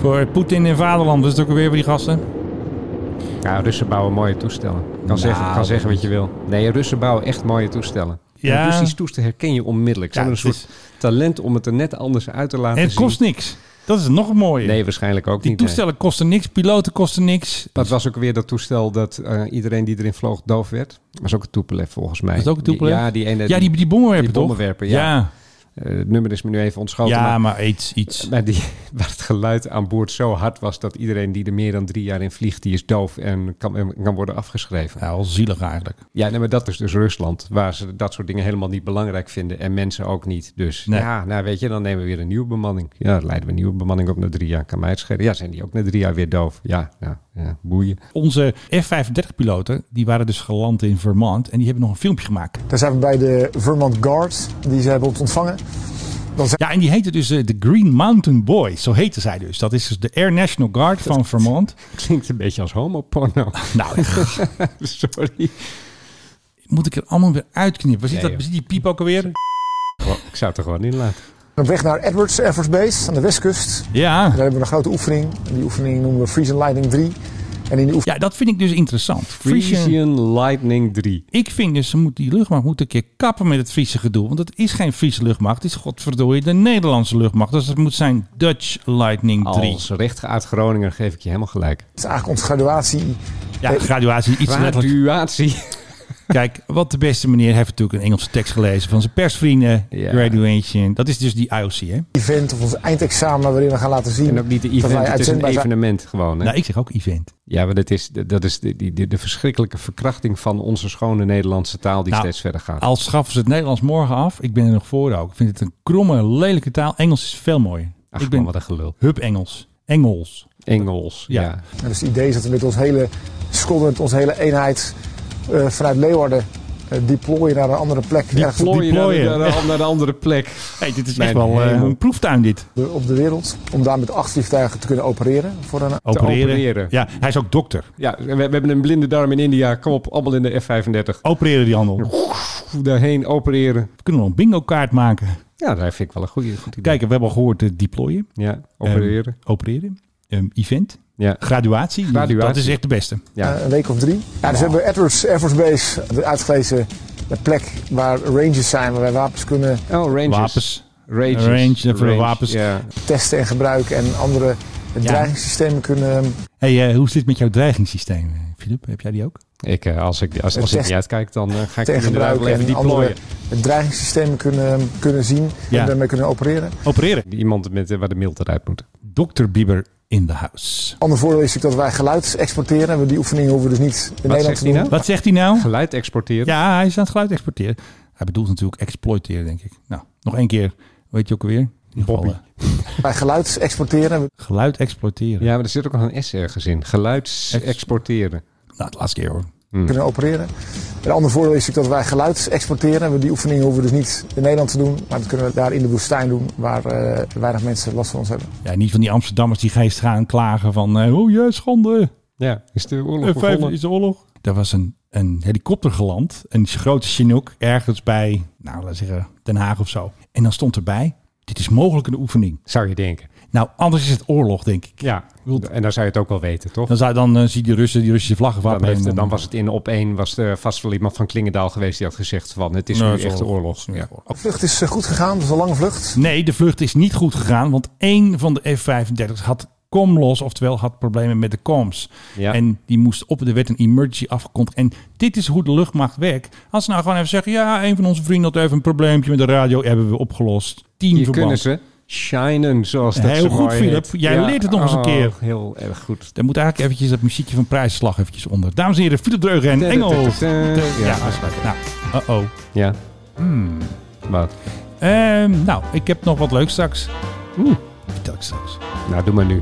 Speaker 2: Voor Poetin en Vaderland. Dat is het ook weer voor die gasten.
Speaker 3: Ja, Russen bouwen mooie toestellen. Kan,
Speaker 2: Nou,
Speaker 3: zeggen, kan zeggen wat je wil. Nee, Russen bouwen echt mooie toestellen.
Speaker 2: Ja.
Speaker 3: Ja. Een Russisch toestel herken je onmiddellijk. Ze
Speaker 2: Ja,
Speaker 3: hebben een
Speaker 2: het
Speaker 3: soort talent om het er net anders uit te laten
Speaker 2: En het
Speaker 3: zien.
Speaker 2: kost niks. Dat is nog mooier.
Speaker 3: Nee, waarschijnlijk ook
Speaker 2: die
Speaker 3: niet. nee.
Speaker 2: toestellen kosten niks. Piloten kosten niks.
Speaker 3: Dat was ook weer dat toestel dat eh, iedereen die erin vloog doof werd. Dat was ook een Tupolev volgens mij.
Speaker 2: Dat is ook een Tupolev?
Speaker 3: Ja, die ene.
Speaker 2: Ja, die, die bommenwerper
Speaker 3: die
Speaker 2: toch?
Speaker 3: bommenwerper, ja.
Speaker 2: Ja,
Speaker 3: eh, het nummer is me nu even ontschoten.
Speaker 2: Ja,
Speaker 3: maar,
Speaker 2: maar iets. iets.
Speaker 3: maar die, waar het geluid aan boord zo hard was dat iedereen die er meer dan drie jaar in vliegt, die is doof en kan, en kan worden afgeschreven.
Speaker 2: Ja, wel zielig eigenlijk.
Speaker 3: Ja, nee, maar dat is dus Rusland, waar ze dat soort dingen helemaal niet belangrijk vinden en mensen ook niet. Dus
Speaker 2: Nee.
Speaker 3: ja, nou weet je, dan nemen we weer een nieuwe bemanning. Ja, dan leiden we een nieuwe bemanning op naar drie jaar. Kan mij het schelen. Ja, zijn die ook na drie jaar weer doof? Ja, ja, ja boeien.
Speaker 2: Onze F-35-piloten, die waren dus geland in Vermont. En die hebben nog een filmpje gemaakt.
Speaker 9: Daar zijn we bij de Vermont Guards, die ze hebben ons ontvangen.
Speaker 2: Ja, en die heette dus eh, de Green Mountain Boys. Zo heette zij dus. Dat is dus de Air National Guard van Vermont.
Speaker 3: Klinkt een beetje als homoporno.
Speaker 2: Nou, echt,
Speaker 3: Sorry.
Speaker 2: moet ik er allemaal weer uitknippen? Ziet,
Speaker 3: Nee,
Speaker 2: dat,
Speaker 3: joh.
Speaker 2: ziet die piep ook alweer?
Speaker 3: Goh, Ik zou het er gewoon in laten.
Speaker 9: Op weg naar Edwards Air Force Base aan de westkust.
Speaker 2: Ja.
Speaker 9: Daar hebben we een grote oefening. En die oefening noemen we Freeze and Lightning 3. En in die oefening
Speaker 2: ja, dat vind ik dus interessant. Friesen.
Speaker 3: Frisian Lightning 3.
Speaker 2: Ik vind dus, ze moet die luchtmacht moet een keer kappen met het Friese gedoe. Want het is geen Friese luchtmacht. Het is godverdorie de Nederlandse luchtmacht. Dus het moet zijn Dutch Lightning 3.
Speaker 3: Als rechtgeaard Groninger geef ik je helemaal gelijk.
Speaker 9: is eigenlijk onze graduatie.
Speaker 2: Ja, graduatie iets letterlijk.
Speaker 3: Graduatie.
Speaker 2: Kijk, wat de beste meneer heeft natuurlijk een Engelse tekst gelezen van zijn persvrienden.
Speaker 3: Ja.
Speaker 2: Graduation. Dat is dus die IOC, hè?
Speaker 9: Event of ons eindexamen waarin we gaan laten zien
Speaker 3: En ook niet de
Speaker 9: dat
Speaker 3: event,
Speaker 9: wij
Speaker 3: het is een
Speaker 9: uitzendbaar zijn.
Speaker 3: evenement gewoon. Hè?
Speaker 2: Nou, ik zeg ook event.
Speaker 3: Ja, maar dat is, dat is de, die, de, de verschrikkelijke verkrachting van onze schone Nederlandse taal die
Speaker 2: Nou,
Speaker 3: steeds verder gaat.
Speaker 2: Al schaffen ze het Nederlands morgen af, ik ben er nog voor ook. Ik vind het een kromme, lelijke taal. Engels is veel mooier.
Speaker 3: Ach,
Speaker 2: ik ben
Speaker 3: man, wat een gelul.
Speaker 2: hub Engels. Engels.
Speaker 3: Engels, ja.
Speaker 2: Ja.
Speaker 9: En dus het idee is dat we met ons hele school, met onze hele eenheid eh, vanuit Leeuwarden eh, deployen naar een andere plek. ergens op
Speaker 3: Plooien naar de-
Speaker 2: plooien.
Speaker 3: Naar, de, naar de andere plek.
Speaker 2: Hey, dit is
Speaker 3: Mijn
Speaker 2: echt wel eh,
Speaker 3: hemel.
Speaker 2: een proeftuin dit.
Speaker 9: de, op de wereld. Om daar met acht vliegtuigen te kunnen opereren voor een
Speaker 3: opereren.
Speaker 2: Ja, hij is ook dokter.
Speaker 3: Ja, we, we hebben een blinde darm in India. Kom op, allemaal in de F-35.
Speaker 2: Opereren die handel. We
Speaker 3: Daarheen opereren.
Speaker 2: kunnen nog een bingo kaart maken.
Speaker 3: Ja, daar vind ik wel een goede, goed idee.
Speaker 2: Kijk, we hebben al gehoord eh, deployen.
Speaker 3: Ja, opereren.
Speaker 2: Ehm, opereren. Ehm, event.
Speaker 3: ja.
Speaker 2: Graduatie.
Speaker 3: Graduatie.
Speaker 2: Dat is echt de beste.
Speaker 3: ja.
Speaker 9: Eh, een week of drie. Ja, dus hebben we Edwards Air Force Base, de uitgelezen plek waar ranges zijn, waar wij wapens kunnen
Speaker 3: oh, Rangers.
Speaker 2: Wapens.
Speaker 3: Rangers.
Speaker 2: Range, voor de
Speaker 3: Range,
Speaker 2: wapens.
Speaker 3: Ja.
Speaker 9: testen en gebruiken en andere dreigingssystemen kunnen
Speaker 2: Hey, eh, hoe zit het met jouw dreigingssysteem, eh, Filip? Heb jij die ook?
Speaker 3: Ik, eh, als ik, als, als ik
Speaker 9: Test-
Speaker 3: niet uitkijk, dan eh, ga ik
Speaker 9: testen en
Speaker 3: inderdaad wel
Speaker 9: gebruiken
Speaker 3: even
Speaker 9: en
Speaker 3: die
Speaker 9: andere
Speaker 3: plooien.
Speaker 9: dreigingssystemen kunnen, kunnen zien
Speaker 2: Ja.
Speaker 9: en daarmee kunnen opereren.
Speaker 2: Opereren.
Speaker 3: Iemand met, eh, waar de milt eruit moet.
Speaker 2: Dr. Bieber in the house.
Speaker 9: Ander voordeel is natuurlijk dat wij geluid exporteren. We- Die oefeningen hoeven we dus niet in Nederland
Speaker 3: zegt
Speaker 9: te
Speaker 3: hij
Speaker 9: doen.
Speaker 3: nou?
Speaker 2: Wat zegt hij nou?
Speaker 3: Geluid exporteren.
Speaker 2: Ja, hij is aan het geluid exporteren. Hij bedoelt natuurlijk exploiteren, denk ik. Nou, nog één keer. Weet je ook alweer? In ieder geval,
Speaker 3: Bobby.
Speaker 2: eh,
Speaker 9: Wij geluid exporteren. We-
Speaker 2: Geluid exploiteren.
Speaker 3: Ja, maar er zit ook nog een S ergens in. Geluids
Speaker 2: Ex-
Speaker 3: exporteren.
Speaker 2: Nou, het laatste keer hoor.
Speaker 3: Hmm.
Speaker 9: kunnen opereren. Een ander voordeel is natuurlijk dat wij geluid exporteren. We- Die oefeningen hoeven we dus niet in Nederland te doen. Maar dat kunnen we daar in de woestijn doen, waar eh, weinig mensen last van ons hebben.
Speaker 2: Ja, niet van die Amsterdammers die geest gaan klagen van... eh, oh ja, schande.
Speaker 3: Ja, is de oorlog
Speaker 2: F5
Speaker 3: begonnen?
Speaker 2: is de oorlog. Daar was een, een helikopter geland, een grote Chinook, ergens bij, nou laten we zeggen, Den Haag of zo. En dan stond erbij, dit is mogelijk een oefening.
Speaker 3: Zou je denken.
Speaker 2: Nou, anders is het oorlog, denk ik.
Speaker 3: Ja, en dan zou je het ook wel weten, toch?
Speaker 2: Dan, zou, dan eh, zie je die Russen die Russische vlaggen
Speaker 3: Dan,
Speaker 2: wapperen.
Speaker 3: heeft,
Speaker 2: en
Speaker 3: dan was het in op één, was er vast wel iemand van Klingendaal geweest die had gezegd van het is
Speaker 2: Nee,
Speaker 3: nu
Speaker 2: het Nou, is
Speaker 3: echt
Speaker 2: oorlog.
Speaker 3: oorlog. Ja.
Speaker 9: De vlucht is eh, goed gegaan, dat is een lange vlucht.
Speaker 2: Nee, de vlucht is niet goed gegaan, want één van de F-35's had comlos, oftewel had problemen met de coms.
Speaker 3: Ja.
Speaker 2: En die moest op, er werd een emergency afgekondigd. En dit is hoe de luchtmacht werkt. Als ze nou gewoon even zeggen, ja, een van onze vrienden had even een probleempje met de radio, hebben we opgelost. Tien
Speaker 3: Hier
Speaker 2: verband.
Speaker 3: kunnen ze shinen, zoals dat
Speaker 2: Heel
Speaker 3: zo
Speaker 2: goed,
Speaker 3: mooi
Speaker 2: Philip.
Speaker 3: heet.
Speaker 2: Jij leert het nog eens een
Speaker 3: oh,
Speaker 2: keer.
Speaker 3: Heel erg goed.
Speaker 2: Daar moet eigenlijk eventjes dat muziekje van prijsslag eventjes onder. Dames en heren, Philip Dreugen en Engels.
Speaker 3: Ja,
Speaker 2: Ja,
Speaker 3: ja.
Speaker 2: afsluiten. Nou, uh-oh.
Speaker 3: ja.
Speaker 2: Hmm.
Speaker 3: Wat?
Speaker 2: Ehm, nou, ik heb nog wat leuks straks. Vertel ik straks.
Speaker 3: Nou, doe maar nu.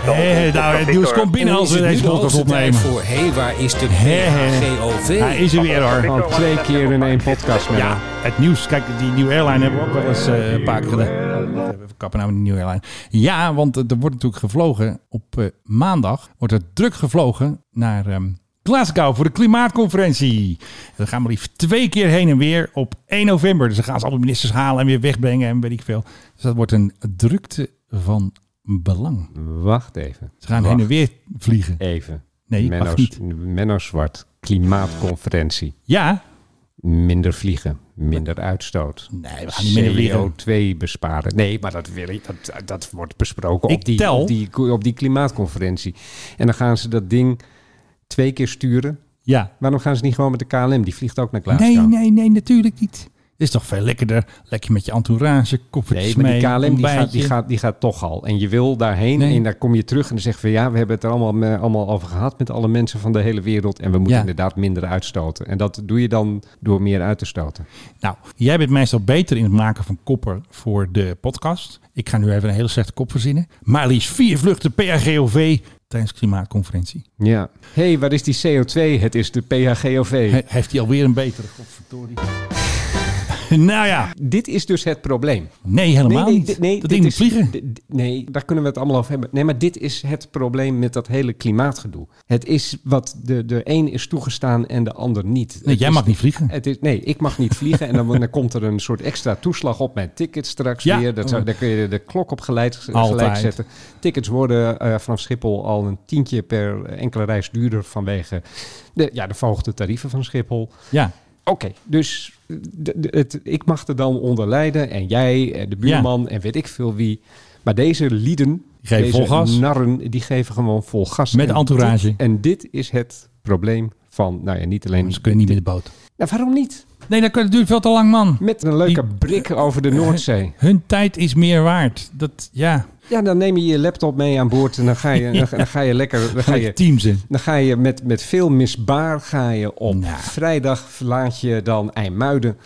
Speaker 2: Hé, nou, het nieuws komt binnen
Speaker 6: En
Speaker 2: als
Speaker 6: is het
Speaker 2: we
Speaker 6: nu
Speaker 2: deze
Speaker 6: de
Speaker 2: podcast
Speaker 6: hoogste tijd
Speaker 2: opnemen.
Speaker 6: voor, hé, waar is de
Speaker 2: Hé, hé.
Speaker 6: PHGOV?
Speaker 2: Hij is er weer hoor.
Speaker 3: Gewoon twee keer in één podcast met
Speaker 2: Ja,
Speaker 3: hem.
Speaker 2: het nieuws. Kijk, die nieuwe airline hebben we ook wel eens eh, een paar keer gedaan. Wacht even, we kappen nou met die nieuwe airline. Ja, want eh, er wordt natuurlijk gevlogen. Op eh, maandag wordt er druk gevlogen naar ehm, Glasgow voor de klimaatconferentie. En dan gaan we liefst twee keer heen en weer op 1 november. Dus dan gaan ze alle ministers halen en weer wegbrengen en weet ik veel. Dus dat wordt een drukte van belang.
Speaker 3: Wacht even.
Speaker 2: Ze gaan
Speaker 3: Wacht
Speaker 2: heen en weer vliegen.
Speaker 3: Even.
Speaker 2: Nee,
Speaker 3: Menno,
Speaker 2: mag niet.
Speaker 3: Menno Zwart, klimaatconferentie.
Speaker 2: Ja.
Speaker 3: Minder vliegen, minder uitstoot.
Speaker 2: Nee, we gaan niet meer vliegen.
Speaker 3: CO2 besparen. Nee, maar dat, wil ik, dat, dat wordt besproken
Speaker 2: Ik
Speaker 3: op die,
Speaker 2: tel.
Speaker 3: op, die, op die klimaatconferentie. En dan gaan ze dat ding twee keer sturen.
Speaker 2: Ja.
Speaker 3: Waarom gaan ze niet gewoon met de KLM? Die vliegt ook naar Glasgow.
Speaker 2: Nee, nee, nee, natuurlijk niet. Het is toch veel lekkerder. Lekker met je entourage, koffertjes
Speaker 3: Nee, maar
Speaker 2: mee,
Speaker 3: die KLM die gaat,
Speaker 2: ontbijtje.
Speaker 3: die, gaat, die gaat toch al. En je wil daarheen
Speaker 2: Nee.
Speaker 3: en daar kom je terug en dan zeggen we... ja, we hebben het er allemaal, eh, allemaal over gehad met alle mensen van de hele wereld... en we moeten
Speaker 2: Ja.
Speaker 3: inderdaad minder uitstoten. En dat doe je dan door meer uit te stoten.
Speaker 2: Nou, jij bent meestal beter in het maken van koppen voor de podcast. Ik ga nu even een hele slechte kop verzinnen. Maar liefst vier vluchten per GOV tijdens de klimaatconferentie.
Speaker 3: Ja. Hé, hey, waar is die CO2? Het is de PHGOV.
Speaker 2: He- heeft hij alweer een betere godverdorie? nou ja,
Speaker 3: Dit is dus het probleem.
Speaker 2: nee, helemaal
Speaker 3: dit-
Speaker 2: niet. dat ding
Speaker 3: dit
Speaker 2: moet
Speaker 3: is-
Speaker 2: vliegen.
Speaker 3: d- d- Nee, daar kunnen we het allemaal over hebben. Nee, maar dit is het probleem met dat hele klimaatgedoe. Het is wat de, de een is toegestaan en de ander niet.
Speaker 2: Nee,
Speaker 3: Het
Speaker 2: jij
Speaker 3: is-
Speaker 2: mag niet vliegen.
Speaker 3: Het is, nee, ik mag niet vliegen. En dan, dan komt er een soort extra toeslag op mijn ticket straks
Speaker 2: Ja. Oh.
Speaker 3: weer. Dat zou, daar kun je de klok op geleid,
Speaker 2: Altijd.
Speaker 3: gelijk zetten. Tickets worden eh, vanaf Schiphol al een tientje per enkele reis duurder vanwege de, ja, de verhoogde tarieven van Schiphol.
Speaker 2: Ja,
Speaker 3: Oké, dus d- d- het, ik mag er dan onder lijden. En jij, en de buurman en weet ik veel wie. Maar deze lieden,
Speaker 2: Die geven
Speaker 3: deze
Speaker 2: vol gas.
Speaker 3: narren, die geven gewoon vol gas.
Speaker 2: Met
Speaker 3: En
Speaker 2: entourage.
Speaker 3: dit- en dit is het probleem van, nou ja, niet alleen...
Speaker 2: ze kunnen niet met de boot.
Speaker 3: Nou, waarom niet?
Speaker 2: Nee, dat kan- dat duurt veel te lang, man.
Speaker 3: Met een leuke
Speaker 2: Die-
Speaker 3: brik over de Noordzee.
Speaker 2: Hun tijd is meer waard. Dat, ja,
Speaker 3: Ja, dan neem je je laptop mee aan boord en dan ga je, dan, ga- dan ga je lekker... Dan ga je,
Speaker 2: teams in.
Speaker 3: dan ga je met, met veel misbaar ga je op
Speaker 2: Nou.
Speaker 3: vrijdag verlaat je dan IJmuiden.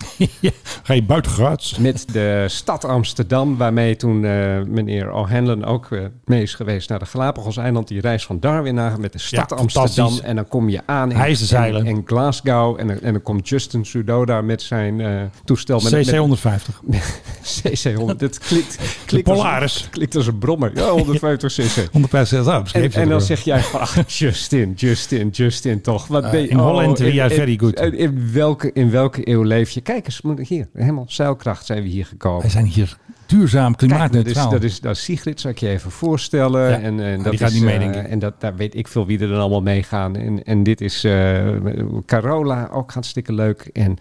Speaker 2: Ja, ga je buitengraads.
Speaker 3: Met de stad Amsterdam, waarmee toen eh, meneer O'Hanlon ook eh, mee is geweest naar de Galapagos-eiland. Die reis van Darwin aan met de stad
Speaker 2: Ja,
Speaker 3: Amsterdam.
Speaker 2: fantastisch.
Speaker 3: En dan kom je aan in,
Speaker 2: Hij is dus de zeiler.
Speaker 3: en, en Glasgow. En, dan- en dan komt Justin Trudeau daar met zijn eh, toestel. Met,
Speaker 2: CC 150.
Speaker 3: CC 100. Dat klikt, klikt, Als,
Speaker 2: Polaris.
Speaker 3: een- klikt als een brommer. Ja, 150 cc.
Speaker 2: 150 oh, misschien
Speaker 3: En,
Speaker 2: heeft hij
Speaker 3: en dan
Speaker 2: het
Speaker 3: zeg jij van, ach, Justin, Justin, Justin toch. Wat
Speaker 2: Eh,
Speaker 3: ben je, oh,
Speaker 2: in Holland, we are
Speaker 3: in-
Speaker 2: very good.
Speaker 3: In, in welke, in welke eeuw leef je? Kijk eens, moet- hier, helemaal zeilkracht zijn we hier
Speaker 2: wel.
Speaker 3: gekomen.
Speaker 2: Wij zijn hier duurzaam,
Speaker 3: Kijk, dat, is,
Speaker 2: klimaatneutraal.
Speaker 3: dat, is, dat is Sigrid, zou ik je even voorstellen.
Speaker 2: Ja,
Speaker 3: en, en
Speaker 2: die
Speaker 3: dat
Speaker 2: gaat
Speaker 3: is,
Speaker 2: niet mee,
Speaker 3: eh,
Speaker 2: denk ik.
Speaker 3: En dat, daar weet ik veel wie er dan allemaal meegaan. En, en dit is eh, Carola, ook hartstikke leuk. En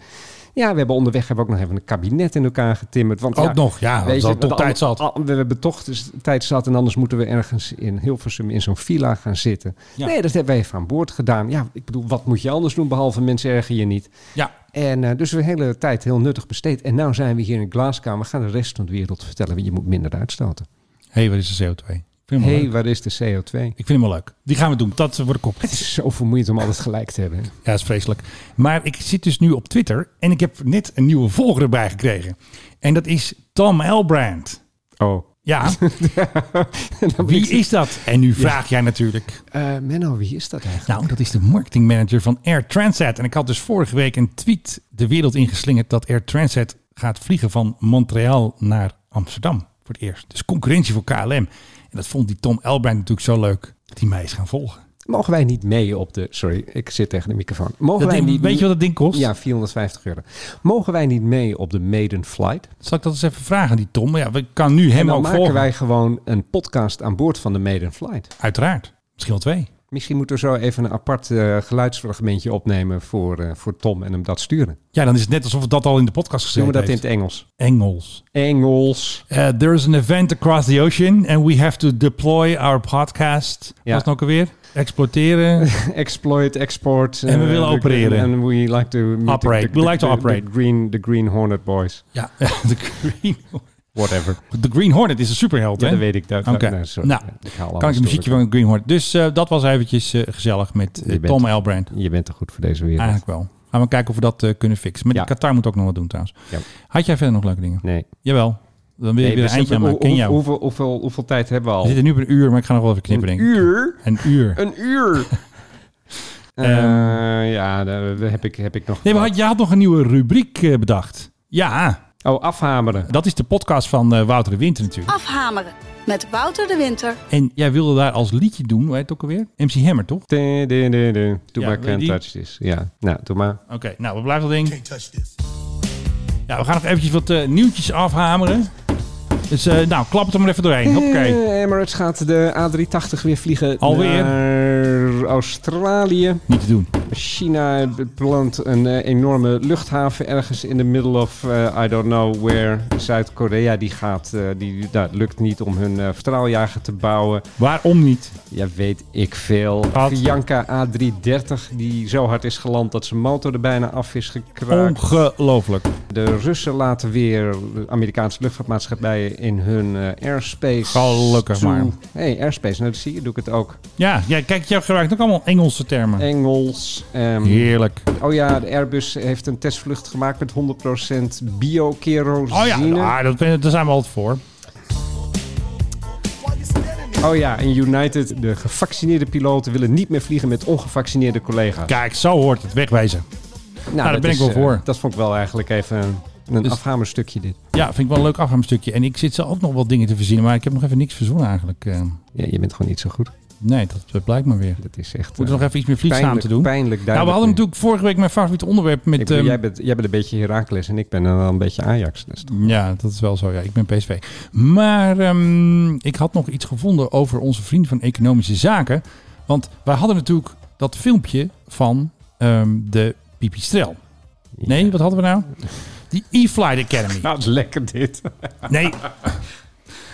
Speaker 3: ja, we hebben onderweg hebben we ook nog even een kabinet in elkaar getimmerd. Want,
Speaker 2: Ook
Speaker 3: ja,
Speaker 2: nog, ja,
Speaker 3: weet
Speaker 2: als dat
Speaker 3: je,
Speaker 2: toch
Speaker 3: want
Speaker 2: tijd
Speaker 3: al-
Speaker 2: zat.
Speaker 3: al- we hebben toch dus tijd zat en anders moeten we ergens in Hilversum in zo'n villa gaan zitten.
Speaker 2: Ja.
Speaker 3: Nee, dat hebben we even aan boord gedaan. Ja, ik bedoel, wat moet je anders doen behalve mensen erger je niet?
Speaker 2: Ja,
Speaker 3: En eh, dus we hebben de hele tijd heel nuttig besteed. En nu zijn we hier in Glasgow. We gaan de rest van de wereld vertellen. Je moet minder uitstoten.
Speaker 2: hé, hey, wat is de CO2? Ik vind hem wel
Speaker 3: Hé, hey,
Speaker 2: leuk.
Speaker 3: waar is de CO2?
Speaker 2: Ik vind hem wel leuk. Die gaan we doen. Dat wordt de kop.
Speaker 3: Het is zo vermoeiend om alles gelijk te hebben. hè.
Speaker 2: Ja, dat is vreselijk. Maar ik zit dus nu op Twitter en ik heb net een nieuwe volger erbij gekregen. En dat is Tom Elbrand.
Speaker 3: Oh.
Speaker 2: Ja, wie is dat? En nu vraag jij natuurlijk.
Speaker 3: Eh, Menno, wie is dat eigenlijk?
Speaker 2: Nou, dat is de marketingmanager van Air Transat. En ik had dus vorige week een tweet de wereld ingeslingerd dat Air Transat gaat vliegen van Montreal naar Amsterdam voor het eerst. Dus concurrentie voor KLM. En dat vond die Tom Elbrand natuurlijk zo leuk dat hij mij is gaan volgen.
Speaker 3: Mogen wij niet mee op de... Sorry, ik zit tegen de microfoon. Mogen
Speaker 2: Dat
Speaker 3: wij
Speaker 2: ding-
Speaker 3: niet,
Speaker 2: weet je wat dat ding kost?
Speaker 3: Ja, 450 euro. Mogen wij niet mee op de Maiden Flight?
Speaker 2: Zal ik dat eens even vragen, aan die Tom? Ja, we kan nu
Speaker 3: En
Speaker 2: hem
Speaker 3: dan
Speaker 2: ook
Speaker 3: maken
Speaker 2: volgen.
Speaker 3: wij gewoon een podcast aan boord van de Maiden Flight.
Speaker 2: Uiteraard. Misschien wel twee.
Speaker 3: Misschien moeten we zo even een apart eh, geluidsfragmentje opnemen voor, eh, voor Tom en hem dat sturen.
Speaker 2: Ja, dan is het net alsof we dat al in de podcast
Speaker 3: Doen
Speaker 2: geschreven
Speaker 3: we dat in
Speaker 2: heeft.
Speaker 3: het Engels?
Speaker 2: Engels.
Speaker 3: Engels.
Speaker 2: Uh, there is an event across the ocean and we have to deploy our podcast.
Speaker 3: Ja.
Speaker 2: Was het nou ook alweer? Exploiteren.
Speaker 3: Exploit, export.
Speaker 2: En we
Speaker 3: eh,
Speaker 2: willen
Speaker 3: the-
Speaker 2: opereren.
Speaker 3: And we like to... meet the-
Speaker 2: Operate.
Speaker 3: the-
Speaker 2: We like to
Speaker 3: the- the
Speaker 2: operate.
Speaker 3: green, the green Hornet Boys.
Speaker 2: ja, de Green,
Speaker 3: Whatever.
Speaker 2: de green Hornet is een superheld,
Speaker 3: Ja,
Speaker 2: hè?
Speaker 3: dat weet ik. Dat,
Speaker 2: Oké.
Speaker 3: dat- sorry.
Speaker 2: Nou,
Speaker 3: Ik haal
Speaker 2: Kan ik
Speaker 3: alles
Speaker 2: het muziekje
Speaker 3: door
Speaker 2: van Green Hornet. Dus eh, dat was eventjes eh, gezellig met eh,
Speaker 3: Je bent-
Speaker 2: Tom Elbrand.
Speaker 3: elkaar. Je bent te goed voor deze wereld.
Speaker 2: Eigenlijk wel. Gaan we kijken of we dat eh, kunnen fixen. Met
Speaker 3: Ja.
Speaker 2: Qatar moet ook nog wat doen trouwens.
Speaker 3: Ja.
Speaker 2: Had jij verder nog leuke dingen?
Speaker 3: Nee.
Speaker 2: Jawel. Dan wil je
Speaker 3: Nee,
Speaker 2: weer
Speaker 3: we
Speaker 2: een eindje aan
Speaker 3: zitten-
Speaker 2: maken.
Speaker 3: hoe-
Speaker 2: Ken
Speaker 3: hoe-
Speaker 2: jou.
Speaker 3: Hoeveel, hoeveel, hoeveel tijd hebben we
Speaker 2: We
Speaker 3: al?
Speaker 2: zitten nu bij een uur, maar ik ga nog wel even knippen,
Speaker 3: Een
Speaker 2: denk ik.
Speaker 3: uur?
Speaker 2: Een uur.
Speaker 3: Een uur? Eh, ja, daar heb ik, heb ik nog...
Speaker 2: Ehm. Nee, maar had, jij had nog een nieuwe rubriek eh, bedacht. Ja,
Speaker 3: Oh, afhameren.
Speaker 2: dat is de podcast van eh, Wouter de Winter natuurlijk.
Speaker 10: Afhameren met Wouter de Winter.
Speaker 2: En jij wilde daar als liedje doen, hoe heet het ook alweer? MC Hammer, toch?
Speaker 3: Doe
Speaker 2: Ja,
Speaker 3: maar
Speaker 2: weet je
Speaker 3: can't
Speaker 2: die?
Speaker 3: touch this. Ja, nou, doe maar.
Speaker 2: Oké, nou, we blijven dat ding. Ja, we gaan nog eventjes wat eh, nieuwtjes afhameren. Dus eh, nou, klap het er maar even doorheen. Hoppakee.
Speaker 3: Eh, Emirates gaat de A380 weer vliegen
Speaker 2: Alweer?
Speaker 3: naar Australië.
Speaker 2: Niet te doen.
Speaker 3: China plant een eh, enorme luchthaven ergens in the middle of eh, I don't know where. Zuid-Korea die gaat, eh, die, nou, het lukt niet om hun eh straaljager te bouwen.
Speaker 2: Waarom niet?
Speaker 3: Ja, weet ik veel.
Speaker 2: Wat?
Speaker 3: Bianca A330 die zo hard is geland dat zijn motor er bijna af is gekraakt.
Speaker 2: Ongelooflijk.
Speaker 3: De Russen laten weer de Amerikaanse luchtvaartmaatschappijen in hun eh, airspace.
Speaker 2: Gelukkig
Speaker 3: toe.
Speaker 2: maar.
Speaker 3: hey, airspace. Nou, dat zie je, doe ik het ook.
Speaker 2: Ja, ja, kijk, jij gebruikt ook allemaal Engelse termen.
Speaker 3: Engels. ehm,
Speaker 2: Heerlijk.
Speaker 3: Oh ja, de Airbus heeft een testvlucht gemaakt met 100% bio-kerosine.
Speaker 2: Oh ja, nou, dat, ben- daar zijn we altijd voor.
Speaker 3: Oh ja, en United, de gevaccineerde piloten willen niet meer vliegen met ongevaccineerde collega's.
Speaker 2: Kijk, zo hoort het. Wegwezen. nou, daar
Speaker 3: dat
Speaker 2: ben ik wel
Speaker 3: eh,
Speaker 2: voor.
Speaker 3: dat vond ik wel eigenlijk even een- een
Speaker 2: Dus-
Speaker 3: afhamerstukje dit.
Speaker 2: Ja, vind ik wel een leuk afruimstukje. En ik zit zo ook nog wel dingen te verzinnen, maar ik heb nog even niks verzonnen eigenlijk. Eh,
Speaker 3: Ja, je bent gewoon niet zo goed.
Speaker 2: nee, dat, dat blijkt maar weer.
Speaker 3: Dat is echt...
Speaker 2: We moeten
Speaker 3: eh,
Speaker 2: nog even iets meer vliegzaam
Speaker 3: pijnlijk-
Speaker 2: te doen.
Speaker 3: Pijnlijk
Speaker 2: Nou, we
Speaker 3: duidelijk
Speaker 2: hadden
Speaker 3: nu.
Speaker 2: natuurlijk vorige week mijn favoriete onderwerp met...
Speaker 3: Ik bedoel,
Speaker 2: ehm,
Speaker 3: jij, bent, jij bent een beetje Herakles en ik ben dan een beetje Ajax. Dus toch-
Speaker 2: Ja, dat is wel zo. Ja, ik ben PSV. Maar ehm, ik had nog iets gevonden over onze vriend van Economische Zaken. Want wij hadden natuurlijk dat filmpje van ehm, de Pipistrel. Nee, wat hadden we nou? Die E-Flight Academy.
Speaker 3: Nou, het is lekker dit.
Speaker 2: Nee.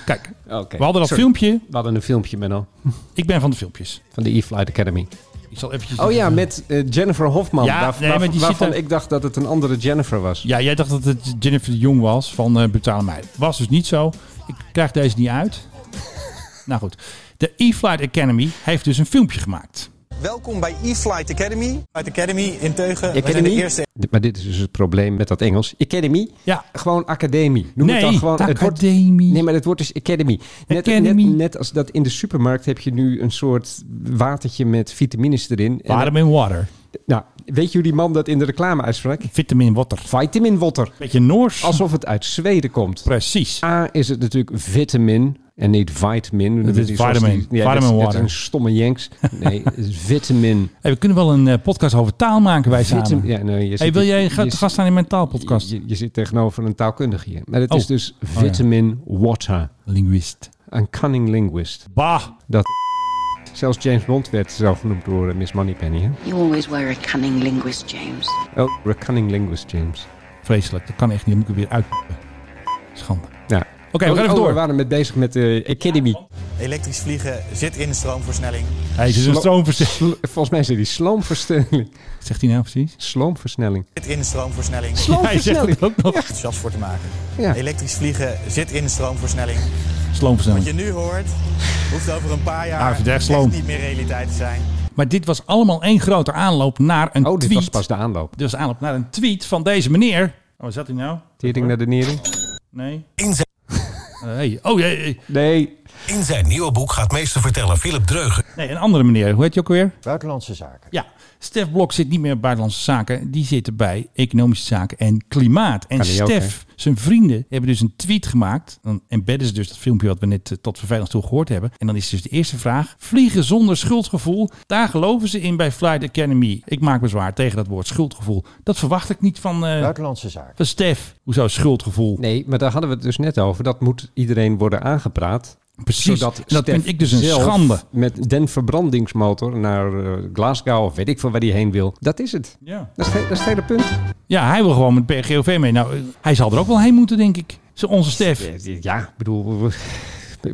Speaker 2: Kijk,
Speaker 3: Oké.
Speaker 2: we hadden dat
Speaker 3: Sorry.
Speaker 2: filmpje.
Speaker 3: We hadden een filmpje met al
Speaker 2: Ik ben van de filmpjes.
Speaker 3: van de E-Flight Academy.
Speaker 2: Ik zal eventjes...
Speaker 3: Oh ja, met eh, Jennifer Hofman.
Speaker 2: Ja,
Speaker 3: Waar-
Speaker 2: nee,
Speaker 3: waar-
Speaker 2: maar die
Speaker 3: waarvan
Speaker 2: zit er-
Speaker 3: ik dacht dat het een andere Jennifer was.
Speaker 2: Ja, jij dacht dat het Jennifer de Jong was van eh Betalen Mij. Was dus niet zo. Ik krijg deze niet uit. nou goed. De E-Flight Academy heeft dus een filmpje gemaakt.
Speaker 11: Welkom bij E-Flight Academy. Flight Academy in Teugen. We zijn
Speaker 3: Academy?
Speaker 11: de eerste
Speaker 3: D- Maar dit is dus het probleem met dat Engels. Academy?
Speaker 2: Ja.
Speaker 3: Gewoon academie. Noem
Speaker 2: Nee,
Speaker 3: het dan gewoon. Het wordt,
Speaker 2: academie.
Speaker 3: nee, maar het wordt dus academy. Net,
Speaker 2: Academy.
Speaker 3: Net, net als dat in de supermarkt heb je nu een soort watertje met vitamines erin. En
Speaker 2: Vitamin water.
Speaker 3: dat- nou, weet je hoe die man dat in de reclame uitsprak?
Speaker 2: Vitamin water.
Speaker 3: Vitamin water.
Speaker 2: Beetje Noors.
Speaker 3: Alsof het uit Zweden komt.
Speaker 2: Precies.
Speaker 3: A is het natuurlijk vitamin en niet vitamin.
Speaker 2: Het is
Speaker 3: Die- zoals
Speaker 2: vitamin.
Speaker 3: die- ja, dat is-
Speaker 2: Vitamin
Speaker 3: dat is
Speaker 2: water.
Speaker 3: een stomme jenks. Nee, het is vitamin.
Speaker 2: Hey, we kunnen wel een eh, podcast over taal maken wij
Speaker 3: Vitam-
Speaker 2: samen.
Speaker 3: ja, nee, je
Speaker 2: hey,
Speaker 3: zit-
Speaker 2: wil jij
Speaker 3: je
Speaker 2: ga-
Speaker 3: zit-
Speaker 2: te gast zijn in mijn taalpodcast?
Speaker 3: Je, je zit tegenover een taalkundige hier. Maar het
Speaker 2: Oh.
Speaker 3: is dus
Speaker 2: ja.
Speaker 3: vitamin water.
Speaker 2: Linguist.
Speaker 3: Een cunning linguist.
Speaker 2: Bah.
Speaker 3: Dat Zelfs James Bond werd zo genoemd door eh, Miss Moneypenny. Hè?
Speaker 10: You always were a cunning linguist, James.
Speaker 3: Oh, a cunning linguist, James.
Speaker 2: Vreselijk. Dat kan echt niet. Dan moet ik er weer uit. Schande. Oké,
Speaker 3: Nou,
Speaker 2: we gaan even
Speaker 3: We
Speaker 2: door.
Speaker 3: waren met bezig met de Academy.
Speaker 11: elektrisch vliegen. Zit in stroomversnelling.
Speaker 2: Hey, het is een
Speaker 3: Slo-
Speaker 2: stroomversnelling.
Speaker 3: Sl- Volgens mij zei die sloomversnelling.
Speaker 2: Zegt hij nou precies?
Speaker 3: Sloomversnelling.
Speaker 11: Zit in stroomversnelling.
Speaker 2: Hij zegt het ook nog.
Speaker 11: Enthousiast voor te maken.
Speaker 3: Ja.
Speaker 11: Elektrisch vliegen. Zit in stroomversnelling. Wat
Speaker 2: Stroomversnelling.
Speaker 11: je nu hoort, hoeft over een paar
Speaker 2: Ah,
Speaker 11: jaar
Speaker 2: verdekt
Speaker 11: echt
Speaker 2: sloom.
Speaker 11: niet meer realiteit te zijn.
Speaker 2: Maar dit was allemaal één grote aanloop naar een
Speaker 3: Oh, dit
Speaker 2: tweet.
Speaker 3: was pas de aanloop.
Speaker 2: Dit was aanloop naar een tweet van deze meneer. Oh, wat zat hij nou?
Speaker 3: Tering naar de nering?
Speaker 2: Nee. Eh, hey. Oh, jee.
Speaker 3: Nee.
Speaker 12: In zijn nieuwe boek gaat meester vertellen Philip Dreugen.
Speaker 2: Nee, een andere meneer. Hoe heet je ook weer?
Speaker 13: Buitenlandse zaken.
Speaker 2: Ja, Stef Blok zit niet meer bij Buitenlandse Zaken. Die zitten bij Economische Zaken en Klimaat. En
Speaker 3: Kan die ook,
Speaker 2: Stef, zijn vrienden, hebben dus een tweet gemaakt. Dan embedden ze dus dat filmpje wat we net eh, tot vervelend toe gehoord hebben. En dan is dus de eerste vraag. Vliegen zonder schuldgevoel. Daar geloven ze in bij Flight Academy. Ik maak bezwaar tegen dat woord schuldgevoel. Dat verwacht ik niet van... eh,
Speaker 13: Buitenlandse zaken.
Speaker 2: Van Stef. Hoezo schuldgevoel?
Speaker 3: Nee, maar daar hadden we het dus net over. Dat moet iedereen worden aangepraat.
Speaker 2: Precies. En dat
Speaker 3: Stef
Speaker 2: vind ik dus een
Speaker 3: zelf
Speaker 2: schande.
Speaker 3: Met den verbrandingsmotor naar eh, Glasgow of weet ik veel waar hij heen wil. Dat is het.
Speaker 2: Ja.
Speaker 3: Dat is, het- dat is het hele punt.
Speaker 2: Ja, hij wil gewoon met PGOV mee. Nou, eh, hij zal er ook wel heen moeten, denk ik. Zo Onze Stef.
Speaker 3: Ja, ik bedoel... we- we-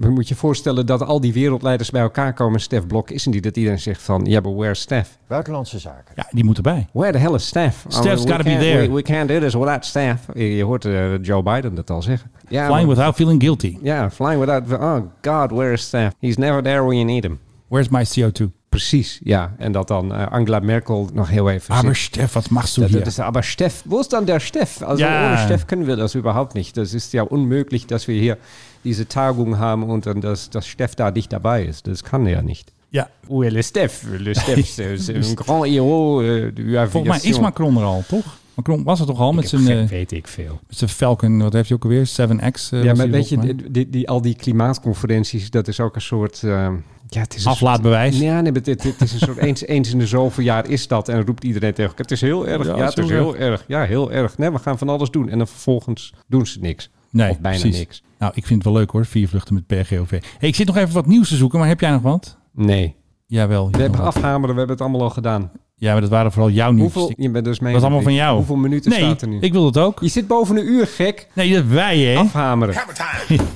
Speaker 3: Moet je voorstellen dat al die wereldleiders bij elkaar komen. Stef Blok is er niet. Dat iedereen zegt van, ja, maar where's Stef?
Speaker 13: Buitenlandse zaken.
Speaker 2: Ja, die moet erbij.
Speaker 3: Where the hell is Stef? Oh,
Speaker 2: Stef's
Speaker 3: we
Speaker 2: gotta be
Speaker 3: can't-
Speaker 2: there.
Speaker 3: We, we can't do this without Stef. Je je hoort eh, Joe Biden dat al zeggen. Ja,
Speaker 2: Flying
Speaker 3: maar-
Speaker 2: without feeling guilty.
Speaker 3: Ja, flying without... Oh god, where is Stef? He's never there when you need him.
Speaker 2: Where's my CO2?
Speaker 3: Precies, ja. En dat dan eh, Angela Merkel nog heel even...
Speaker 2: Aber
Speaker 3: zit.
Speaker 2: Ah, Stef, wat machst du
Speaker 3: Dat-
Speaker 2: hier?
Speaker 3: dat ist aber Steff. Wo ist dann der Steff? Also
Speaker 2: Ja.
Speaker 3: ohne Steff können wir das überhaupt nicht. Das ist ja unmöglich, dass wir hier diese Tagung haben und dann, dass, dass Steff da nicht dabei ist. Das kann er ja nicht.
Speaker 2: Ja.
Speaker 3: Où est le Steff? Le Steff, c'est c'est un grand héros euh, de
Speaker 2: Volgens mij is Macron er al, toch? Macron was er toch al met zijn... eh,
Speaker 3: weet ik veel.
Speaker 2: met zijn Falcon, wat heeft hij ook alweer? 7X. eh, was hij
Speaker 3: Ja, maar
Speaker 2: er
Speaker 3: weet je,
Speaker 2: volgens mij.
Speaker 3: die, die, die- al die klimaatconferenties, dat is ook een soort... eh, ja, het is een
Speaker 2: Aflaatbewijs.
Speaker 3: soort- ja, nee, maar dit, dit is een soort eens, eens in de zoveel jaar is dat. En dan roept iedereen tegen elkaar, het is heel erg.
Speaker 2: Ja,
Speaker 3: Ja,
Speaker 2: het is
Speaker 3: het is
Speaker 2: heel
Speaker 3: heel erg. Ja, heel erg. Nee, we gaan van alles doen. En dan vervolgens doen ze niks.
Speaker 2: Nee,
Speaker 3: of bijna
Speaker 2: precies.
Speaker 3: niks.
Speaker 2: Nou, ik vind het wel leuk hoor, vier vluchten met PGOV. Hey, ik zit nog even wat nieuws te zoeken, maar heb jij nog wat?
Speaker 3: Nee.
Speaker 2: Jawel. je
Speaker 3: We hebben
Speaker 2: nog wat.
Speaker 3: afhameren, we hebben het allemaal al gedaan.
Speaker 2: Ja, maar dat waren vooral jouw nieuws.
Speaker 3: Hoeveel, je bent dus mee.
Speaker 2: dat is allemaal van jou.
Speaker 3: Hoeveel minuten
Speaker 2: nee,
Speaker 3: staat er nu?
Speaker 2: ik wil dat ook.
Speaker 3: Je zit boven een uur, gek.
Speaker 2: Nee, dat wij hè.
Speaker 3: Afhameren.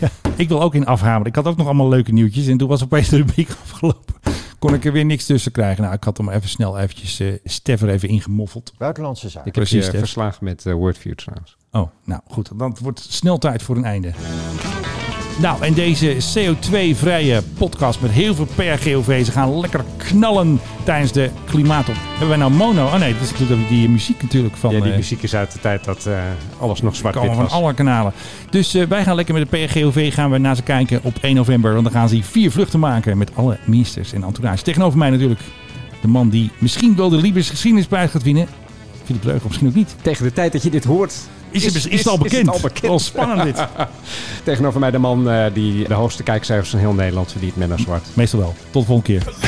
Speaker 2: Ja, ik wil ook in afhameren. Ik had ook nog allemaal leuke nieuwtjes. En toen was opeens de rubriek afgelopen. Kon ik er weer niks tussen krijgen. Nou, ik had hem even snel eventjes eh Stef er even ingemoffeld.
Speaker 13: Buitenlandse zaken.
Speaker 3: Ik heb
Speaker 2: Precies,
Speaker 3: je
Speaker 2: Stef.
Speaker 3: verslagen met eh, Wordview trouwens.
Speaker 2: Oh, nou goed. Dan wordt het snel tijd voor een einde. Nou, en deze CO2-vrije podcast met heel veel PRGOV. Ze gaan lekker knallen tijdens de klimaatop. Hebben wij nou mono? Oh nee, dat is natuurlijk die muziek natuurlijk van...
Speaker 3: ja, die
Speaker 2: eh,
Speaker 3: muziek is uit de tijd dat eh, alles nog zwart-wit
Speaker 2: komen van
Speaker 3: was.
Speaker 2: alle kanalen. Dus eh, wij gaan lekker met de PRGOV gaan we naar ze kijken op 1 november. Want dan gaan ze hier vier vluchten maken met alle ministers en entourage. Tegenover mij natuurlijk de man die misschien wel de Libes geschiedenisprijs gaat winnen. Philip Leugen, of misschien ook niet.
Speaker 3: Tegen de tijd dat je dit hoort...
Speaker 2: Is, het- is, het al bekend? Oh. Wel spannend dit.
Speaker 3: Tegenover mij de man eh, die de hoogste kijkcijfers van heel Nederland verdient, Menno Zwart.
Speaker 2: Meestal wel. Tot de volgende keer.